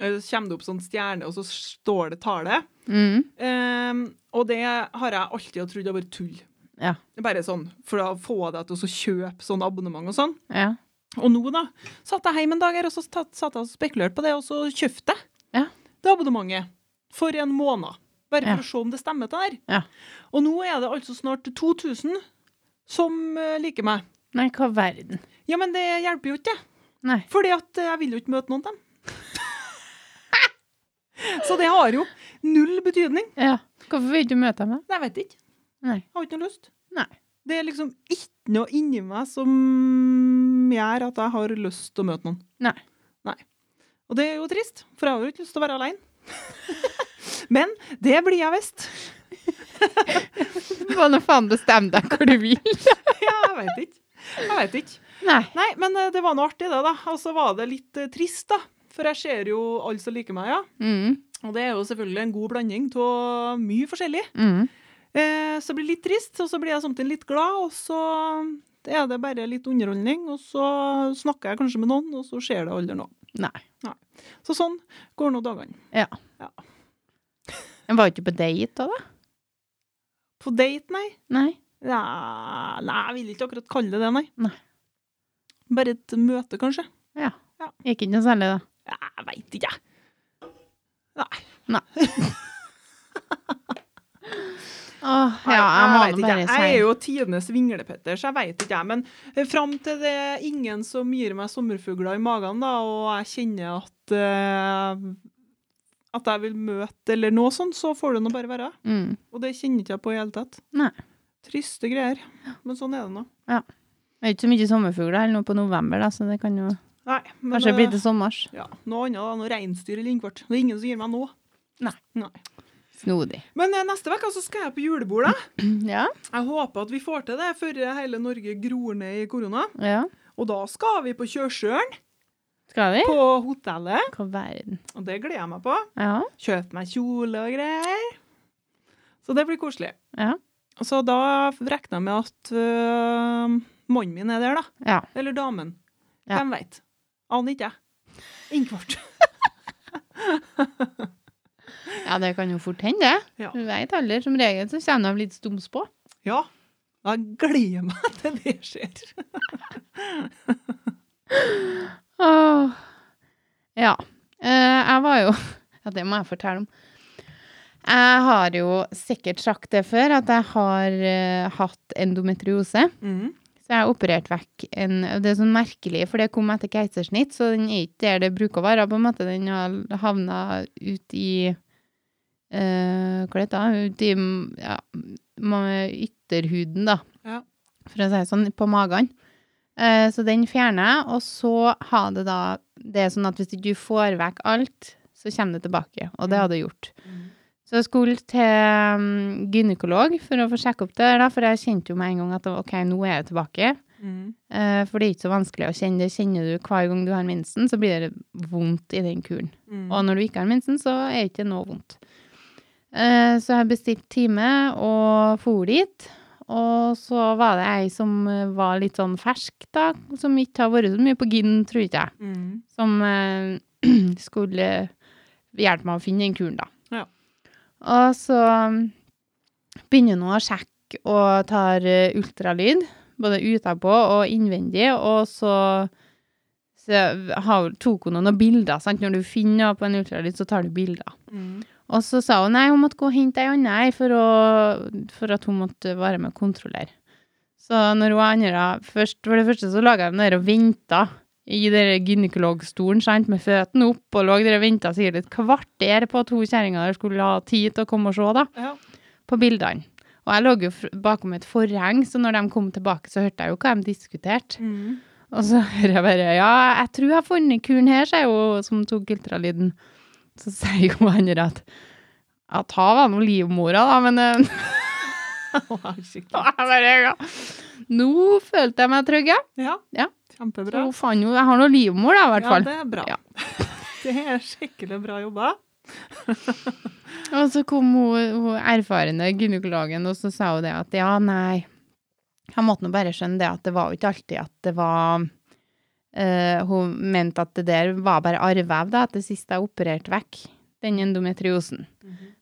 Speaker 2: Eh, Så kommer det opp sånn stjerne, og så står det tallet.
Speaker 1: Mm.
Speaker 2: Ehm, og det har jeg alltid trodd har vært tull.
Speaker 1: Ja.
Speaker 2: Bare sånn, for å få deg til å så kjøpe sånn abonnement og sånn.
Speaker 1: Ja.
Speaker 2: Og nå, da, satt jeg hjemme en dag her, og så tatt- satt jeg og spekulerte på det, og så kjøpte jeg
Speaker 1: Ja.
Speaker 2: det abonnementet for en måned. Bare for
Speaker 1: Ja.
Speaker 2: å se om det stemmer, det der.
Speaker 1: Ja.
Speaker 2: Og nå er det altså snart 2000 som eh, liker meg.
Speaker 1: Nei, hva verden?
Speaker 2: Ja, men det hjelper jo ikke,
Speaker 1: Nei.
Speaker 2: fordi at eh, jeg vil jo ikke møte noen av dem. Så det har jo null betydning.
Speaker 1: Ja. Hvorfor vil du møte meg?
Speaker 2: Nei, Jeg vet ikke.
Speaker 1: Nei.
Speaker 2: Jeg har ikke noe lyst.
Speaker 1: Nei.
Speaker 2: Det er liksom ikke noe inni meg som gjør at jeg har lyst til å møte noen.
Speaker 1: Nei.
Speaker 2: Nei. Og det er jo trist, for jeg har jo ikke lyst til å være alene. Men det blir jeg visst.
Speaker 1: Du må nå faen bestemme deg hvor du vil.
Speaker 2: Ja, jeg veit ikke. Jeg vet ikke.
Speaker 1: Nei.
Speaker 2: Nei, men eh, det var noe artig, det, da. Og så var det litt eh, trist, da. For jeg ser jo alle som liker meg, ja.
Speaker 1: Mm.
Speaker 2: Og det er jo selvfølgelig en god blanding av mye forskjellig.
Speaker 1: Mm.
Speaker 2: Eh, så blir det litt trist, og så blir jeg samtidig litt glad, og så er det bare litt underholdning, og så snakker jeg kanskje med noen, og så skjer det aldri noe.
Speaker 1: Nei.
Speaker 2: Så sånn går nå dagene.
Speaker 1: Ja.
Speaker 2: Ja.
Speaker 1: Jeg var ikke på date da, da?
Speaker 2: På date, nei?
Speaker 1: Nei.
Speaker 2: Nei, nei, jeg vil ikke akkurat kalle det det, nei.
Speaker 1: Nei.
Speaker 2: Bare et møte, kanskje?
Speaker 1: Ja.
Speaker 2: Ja.
Speaker 1: Gikk ikke noe særlig, da.
Speaker 2: Ja, Jeg veit ikke, jeg. Nei.
Speaker 1: Åh, ja, jeg må
Speaker 2: vet
Speaker 1: nå
Speaker 2: ikke,
Speaker 1: bare
Speaker 2: jeg.
Speaker 1: si
Speaker 2: Jeg er jo tidenes vinglepetter, så jeg veit ikke, jeg. Men eh, fram til det er ingen som gir meg sommerfugler i magen, da, og jeg kjenner at eh, at jeg vil møte eller noe sånt, så får det nå bare være.
Speaker 1: mm.
Speaker 2: Og det kjenner ikke jeg på i hele tatt.
Speaker 1: Nei.
Speaker 2: Triste greier. Men sånn er det nå.
Speaker 1: Det er ikke så mye sommerfugler her nå på november, da, så det kan jo
Speaker 2: Nei, men,
Speaker 1: kanskje bli
Speaker 2: eh,
Speaker 1: til sommers.
Speaker 2: Ja, noe annet da, noe reinsdyr eller innkvart. Det er ingen som gir meg nå.
Speaker 1: Nei. Snodig.
Speaker 2: Men eh, neste uke altså, skal jeg på julebord, da.
Speaker 1: Ja.
Speaker 2: Jeg håper at vi får til det før hele Norge gror ned i korona.
Speaker 1: ja.
Speaker 2: Og da skal vi på Kjørsjøen,
Speaker 1: Skal vi?
Speaker 2: på hotellet.
Speaker 1: Hva verden.
Speaker 2: Og det gleder jeg meg på.
Speaker 1: Ja.
Speaker 2: Kjøpe meg kjole og greier. Så det blir koselig.
Speaker 1: Ja.
Speaker 2: Så da regner jeg med at øh, mannen min er der, da.
Speaker 1: Ja.
Speaker 2: Eller damen.
Speaker 1: Ja.
Speaker 2: Hvem veit? Aner ikke jeg. Innkvart.
Speaker 1: ja, det kan jo fort hende, det.
Speaker 2: Ja.
Speaker 1: Du veit aldri. Som regel så kommer de litt stums på.
Speaker 2: Ja. Jeg gleder meg til det skjer.
Speaker 1: Åh. Ja. Eh, jeg var jo Ja, det må jeg fortelle om. Jeg har jo sikkert sagt det før, at jeg har eh, hatt endometriose.
Speaker 2: Mm.
Speaker 1: Så jeg har operert vekk en Det er sånn merkelig, for det kom etter keisersnitt, så den er ikke der det bruker å være, på en måte. Den har havna ut i eh, Hva det heter det? Ut i ja, ma- ytterhuden, da.
Speaker 2: Ja.
Speaker 1: For å si det sånn, på magen. Eh, så den fjerner jeg, og så har det da Det er sånn at hvis ikke du får vekk alt, så kommer det tilbake. Og det har det gjort. Så jeg skulle til mm, gynekolog for å få sjekke opp det, der, da, for jeg kjente jo med en gang at OK, nå er jeg tilbake.
Speaker 2: Mm.
Speaker 1: Eh, For det er ikke så vanskelig å kjenne det. Kjenner du hver gang du har mensen, så blir det vondt i den kuren.
Speaker 2: Mm.
Speaker 1: Og når du ikke har mensen, så er det ikke noe vondt. Eh, Så jeg bestilte time og for dit. Og så var det ei som eh, var litt sånn fersk, da, som ikke har vært så mye på gin, tror ikke jeg,
Speaker 2: Mm.
Speaker 1: som eh, skulle hjelpe meg å finne den kuren, da.
Speaker 2: Ja.
Speaker 1: Og så mm, begynner hun å sjekke og tar eh, ultralyd, både utapå og innvendig, og så så har- tok hun noen bilder. Sant? Når du finner noe på en ultralyd, så tar du bilder.
Speaker 2: Mm.
Speaker 1: Og så sa hun nei, hun måtte gå og hente ei anna ei for, å- for at hun måtte være med og kontrollere. Så når hun andre først, For det første så laga de der og venta i den gynekologstolen sant, med føttene opp, og lå der og venta sikkert et kvarter på at hun kjerringa der skulle ha tid til å komme og se, da
Speaker 2: Ja.
Speaker 1: på bildene. Og jeg lå jo fr- bakom et forheng, så når de kom tilbake, så hørte jeg jo hva de diskuterte. Og
Speaker 2: Mm.
Speaker 1: så hører jeg bare Ja, jeg tror jeg har funnet kuren her, sier hun som tok ultralyden. Så sier jo andre at Ja, ta var nå livmora, da, men eh,
Speaker 2: Skikkelig.
Speaker 1: jeg bare, ja. Nå følte jeg meg trygg, ja.
Speaker 2: Ja.
Speaker 1: Ja. Så
Speaker 2: Kjempebra.
Speaker 1: hun fant jo Jeg har nå livmor, da, i hvert fall.
Speaker 2: Ja, det er bra.
Speaker 1: Ja.
Speaker 2: det er skikkelig bra jobba.
Speaker 1: Og så kom hun, hun erfarne gynekologen, og så sa hun det at ja, nei Han måtte nå bare skjønne det at det var jo ikke alltid at det var eh, Hun mente at det der var bare arvev, da, at det siste jeg opererte vekk, den endometriosen.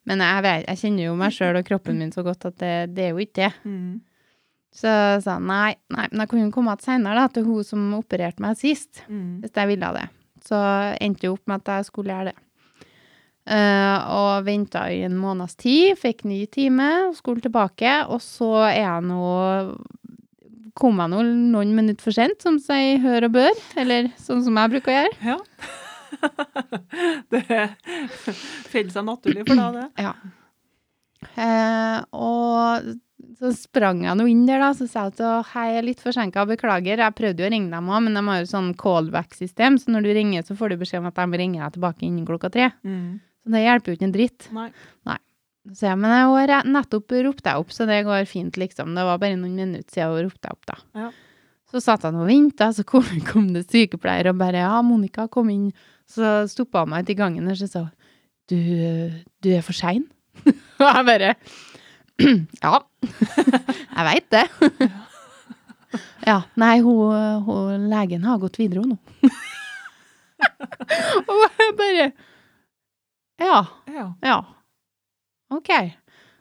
Speaker 1: Men jeg, vet, jeg kjenner jo meg sjøl og kroppen min så godt at det, det er jo ikke det.
Speaker 2: Mm.
Speaker 1: Så jeg sa nei, nei, men jeg kunne jo komme igjen seinere, da, til hun som opererte meg sist
Speaker 2: Mm.
Speaker 1: hvis jeg ville det. Så endte jeg opp med at jeg skulle gjøre det. Eh, og venta i en måneds tid, fikk ny time og skulle tilbake. Og så er jeg nå Kom jeg nå noen minutter for sent, som sier hør og bør, eller sånn som jeg bruker å gjøre.
Speaker 2: Ja. det faller seg naturlig for deg, det.
Speaker 1: Eh, og så sprang jeg nå inn der, da, så sa jeg at «Å, hei, jeg er litt forsinka, beklager. Jeg prøvde jo å ringe dem òg, men de har jo sånn callback-system, så når du ringer, så får du beskjed om at de ringer deg tilbake innen klokka tre. Så det hjelper jo ikke en dritt.
Speaker 2: Nei.
Speaker 1: Så jeg, men jeg har nettopp ropt deg opp, så det går fint, liksom. Det var bare noen minutter siden jeg ropte deg opp, da.
Speaker 2: Ja.
Speaker 1: Så satt han og venta, så kom, kom det sykepleier og bare Ja, Monica, kom inn. Så stoppa han meg ute i gangen og så sa hun, du, du er for sein. Og jeg bare Ja, jeg veit det. Ja. Nei, hun, hun legen har gått videre, hun nå. Og jeg bare Ja.
Speaker 2: Ja.
Speaker 1: Ja. OK.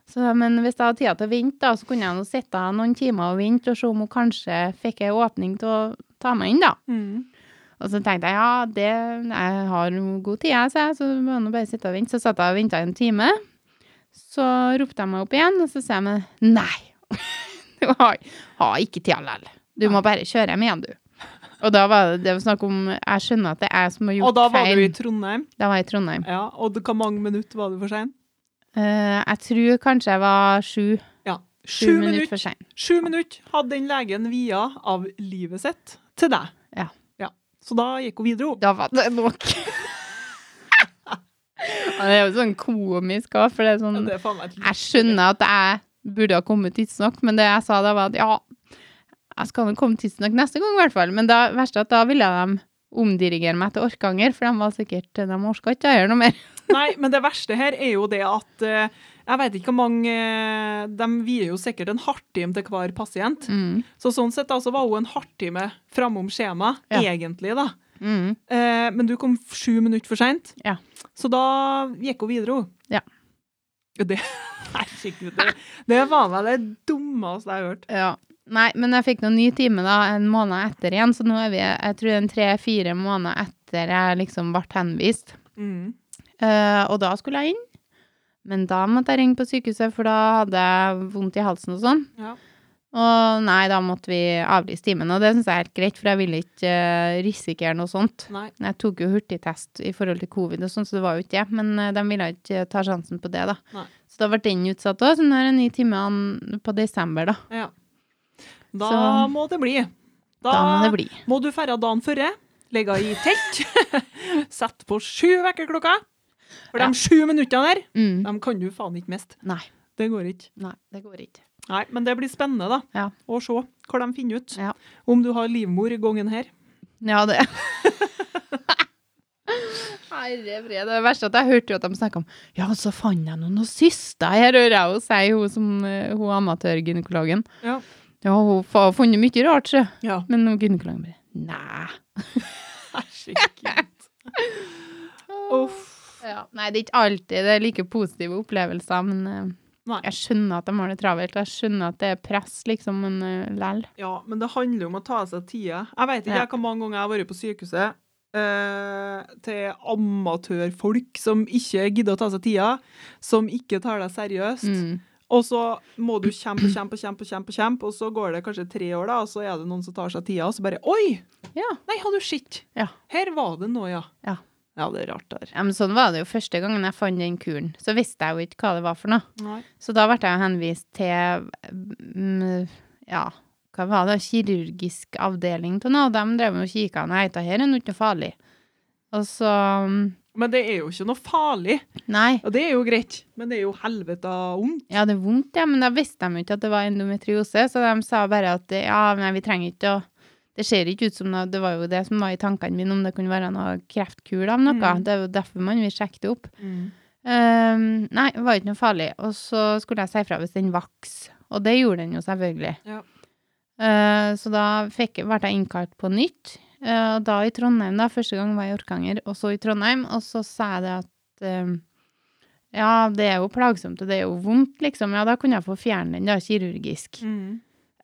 Speaker 1: Så, men hvis jeg hadde tid til å vente, da, så kunne jeg nå sitte noen timer og vente og se om hun kanskje fikk ei åpning til å ta meg inn, da. Og så tenkte jeg ja, det, jeg har jo god tid, jeg, sa jeg, så du må nå bare sitte og vente. Så satt jeg og venta en time. Så ropte jeg meg opp igjen, og så sa jeg meg nei, du har, har ikke tid likevel. Du må bare kjøre hjem igjen, du. Og da var det, det var snakk om Jeg skjønner at det er jeg som har gjort
Speaker 2: Og da var
Speaker 1: feil.
Speaker 2: du i Trondheim.
Speaker 1: Da var jeg i Trondheim.
Speaker 2: Ja, og det- hvor mange minutter var du for sein?
Speaker 1: Eh, jeg tror kanskje jeg var sju,
Speaker 2: Ja.
Speaker 1: sju
Speaker 2: Sju
Speaker 1: minutter
Speaker 2: minutter.
Speaker 1: for sein.
Speaker 2: Sju minutter hadde den legen via av livet sitt til deg.
Speaker 1: Ja.
Speaker 2: Så da gikk hun videre, hun.
Speaker 1: Da var det nok. Ja, det er jo sånn komisk òg, for det er sånn
Speaker 2: Det er faen meg et
Speaker 1: Jeg skjønner at jeg burde ha kommet tidsnok, men det jeg sa da, var at ja, jeg skal nok komme tidsnok neste gang, i hvert fall. Men det verste er at da ville de omdirigere meg til Orkanger, for de var sikkert De orka ikke å gjøre noe mer.
Speaker 2: Nei, men det verste her er jo det at eh, jeg vet ikke hvor mange eh, De vier jo sikkert en halvtime til hver pasient.
Speaker 1: Mm.
Speaker 2: Så sånn sett da, så var hun en halvtime framom skjema,
Speaker 1: Ja.
Speaker 2: egentlig, da.
Speaker 1: Mm.
Speaker 2: Eh, men du kom sju minutter for seint,
Speaker 1: Ja.
Speaker 2: så da gikk hun videre, hun.
Speaker 1: Ja.
Speaker 2: Ja, Det, herregud, det, det er faen meg det dummeste jeg har hørt.
Speaker 1: Ja. Nei, men jeg fikk noen ny time da, en måned etter igjen, så nå er vi jeg tror det er en tre-fire måneder etter jeg liksom ble henvist.
Speaker 2: Mm.
Speaker 1: Eh, og da skulle jeg inn, men da måtte jeg ringe på sykehuset, for da hadde jeg vondt i halsen og sånn.
Speaker 2: Ja.
Speaker 1: Og nei, da måtte vi avlyse timen, og det syns jeg er helt greit, for jeg ville ikke eh, risikere noe sånt.
Speaker 2: Nei.
Speaker 1: Jeg tok jo hurtigtest i forhold til covid og sånn, så det var jo ikke det. Men eh, de ville ikke ta sjansen på det, da.
Speaker 2: Nei.
Speaker 1: Så da ble den utsatt òg, så nå er det ni timer på desember, da.
Speaker 2: Ja. Da
Speaker 1: Så-
Speaker 2: må det bli. Da,
Speaker 1: Da må det bli.
Speaker 2: Må du ferde dagen før, legge i telt, sette på sju vekkerklokka. For
Speaker 1: Ja.
Speaker 2: de sju minuttene der,
Speaker 1: Mm.
Speaker 2: de kan du faen ikke miste.
Speaker 1: Nei.
Speaker 2: Det går ikke.
Speaker 1: Nei, det går ikke.
Speaker 2: Nei, men det blir spennende da,
Speaker 1: Ja.
Speaker 2: å se hva de finner ut.
Speaker 1: Ja.
Speaker 2: Om du har livmor i gangen her.
Speaker 1: Ja, det Herre fred, det er verst at jeg hørte jo at de snakket om Ja, så fant jeg noen noen syster her, hører jeg jo si, hun som eh, hun amatørgynekologen.
Speaker 2: Ja.
Speaker 1: Ja, hun har funnet mye rart, sjø.
Speaker 2: Ja.
Speaker 1: Men hun gynekologen bare Nei.
Speaker 2: Herregud. Uff.
Speaker 1: Ja, nei, det er ikke alltid det er like positive opplevelser, men eh,
Speaker 2: Nei.
Speaker 1: jeg skjønner at de har det travelt. Jeg skjønner at det er press, liksom, men uh, lell.
Speaker 2: Ja, men det handler jo om å ta seg tida. Jeg vet ikke
Speaker 1: Ja.
Speaker 2: jeg, hvor mange ganger jeg har vært på sykehuset eh, til amatørfolk som ikke gidder å ta seg tida, som ikke tar deg seriøst.
Speaker 1: Mm.
Speaker 2: Og så må du kjempe, kjempe, kjempe, kjempe, kjempe, og så går det kanskje tre år, da, og så er det noen som tar seg tida, og så bare Oi!
Speaker 1: Ja.
Speaker 2: Nei, hadde du sett?
Speaker 1: Ja.
Speaker 2: Her var det noe, ja.
Speaker 1: Ja.
Speaker 2: Ja, det er rart der.
Speaker 1: ja, men sånn var det jo første gangen jeg fant den kuren. Så visste jeg jo ikke hva det var for noe.
Speaker 2: Nei.
Speaker 1: Så da ble jeg henvist til mm, ja, hva var det, kirurgisk avdeling til noe. De drev og kikka, og jeg dette her er nå ikke noe farlig. Og så mm,
Speaker 2: Men det er jo ikke noe farlig,
Speaker 1: Nei.
Speaker 2: og det er jo greit, men det er jo helvete vondt.
Speaker 1: Ja, det er vondt, ja, men da visste de jo ikke at det var endometriose, så de sa bare at ja, nei, vi trenger ikke å Det ser ikke ut som noe Det var jo det som var i tankene mine, om det kunne være noe kreftkur av noe.
Speaker 2: Mm.
Speaker 1: Det er jo derfor man vil sjekke det opp. Ehm, nei, det var ikke noe farlig. Og så skulle jeg si fra hvis den vokste. Og det gjorde den jo selvfølgelig.
Speaker 2: Ja.
Speaker 1: Eh, så da fikk, ble jeg innkalt på nytt. Eh, og da i Trondheim, da. Første gang var jeg i Orkanger, og så i Trondheim. Og så sa jeg det at ehm, ja, det er jo plagsomt, og det er jo vondt, liksom. Ja, da kunne jeg få fjerne den, da, kirurgisk.
Speaker 2: Mm.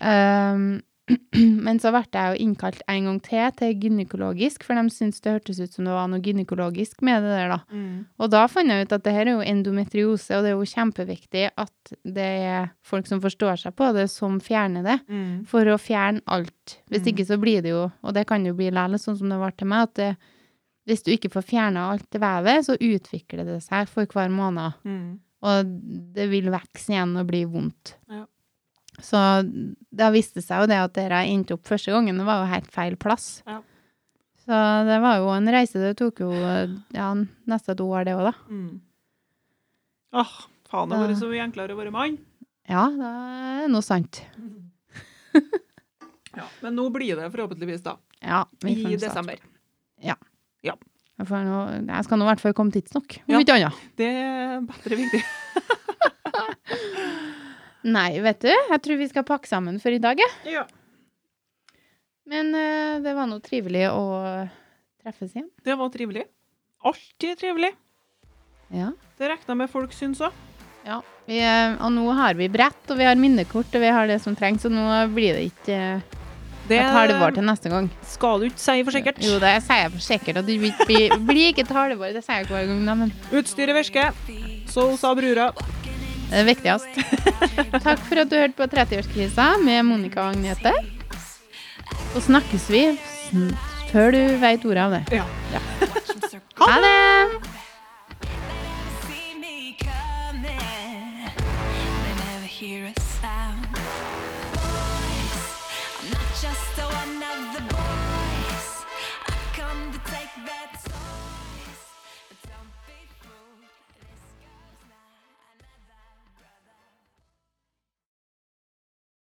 Speaker 1: Ehm, men så ble jeg jo innkalt en gang til til gynekologisk, for de syntes det hørtes ut som det var noe gynekologisk med det der, da.
Speaker 2: Mm.
Speaker 1: Og da fant jeg ut at det her er jo endometriose, og det er jo kjempeviktig at det er folk som forstår seg på det, som fjerner det.
Speaker 2: Mm.
Speaker 1: For å fjerne alt. Hvis
Speaker 2: Mm.
Speaker 1: ikke så blir det jo, og det kan jo bli lærlig, sånn som det var til meg, at det, hvis du ikke får fjerna alt det vevet, så utvikler det seg for hver måned.
Speaker 2: Mm.
Speaker 1: Og det vil vokse igjen og bli vondt.
Speaker 2: Ja.
Speaker 1: Så da viste det seg jo det at det jeg endte opp første gangen, det var jo helt feil plass.
Speaker 2: Ja.
Speaker 1: Så det var jo en reise. Det tok jo ja, nesten et år, det òg, da.
Speaker 2: Mm. Åh, faen, det har vært så mye enklere å være mann.
Speaker 1: Ja, det er noe sant.
Speaker 2: Ja, men nå blir det forhåpentligvis da,
Speaker 1: Ja, vi får
Speaker 2: i
Speaker 1: nå starte.
Speaker 2: desember.
Speaker 1: Jeg, får nå, jeg skal nå i hvert fall komme tidsnok, om
Speaker 2: Ja.
Speaker 1: ikke annet.
Speaker 2: Det er bedre viktig.
Speaker 1: Nei, vet du, jeg tror vi skal pakke sammen for i dag, jeg.
Speaker 2: Ja.
Speaker 1: Men eh, det var nå trivelig å treffes igjen.
Speaker 2: Det var trivelig. Alltid trivelig.
Speaker 1: Ja.
Speaker 2: Det regner jeg med folk syns òg.
Speaker 1: Vi, eh, og nå har vi brett, og vi har minnekort, og vi har det som trengs, så nå blir det ikke eh,
Speaker 2: Det
Speaker 1: et halvår til neste gang.
Speaker 2: skal du ikke si for sikkert.
Speaker 1: Jo, det sier jeg for sikkert, og det blir ikke- blir- blir ikke et halvår, det sier jeg hver gang, da, men
Speaker 2: Utstyret virker. Så sa brura.
Speaker 1: det er viktigst. Eh, Takk for at du hørte på 30-årskrisa med Monica og Agnete. Så snakkes vi sn- før du veit ordet av det.
Speaker 2: Ja.
Speaker 1: Ha det!
Speaker 3: see me coming. They never hear a sound. Boys, I'm not just a one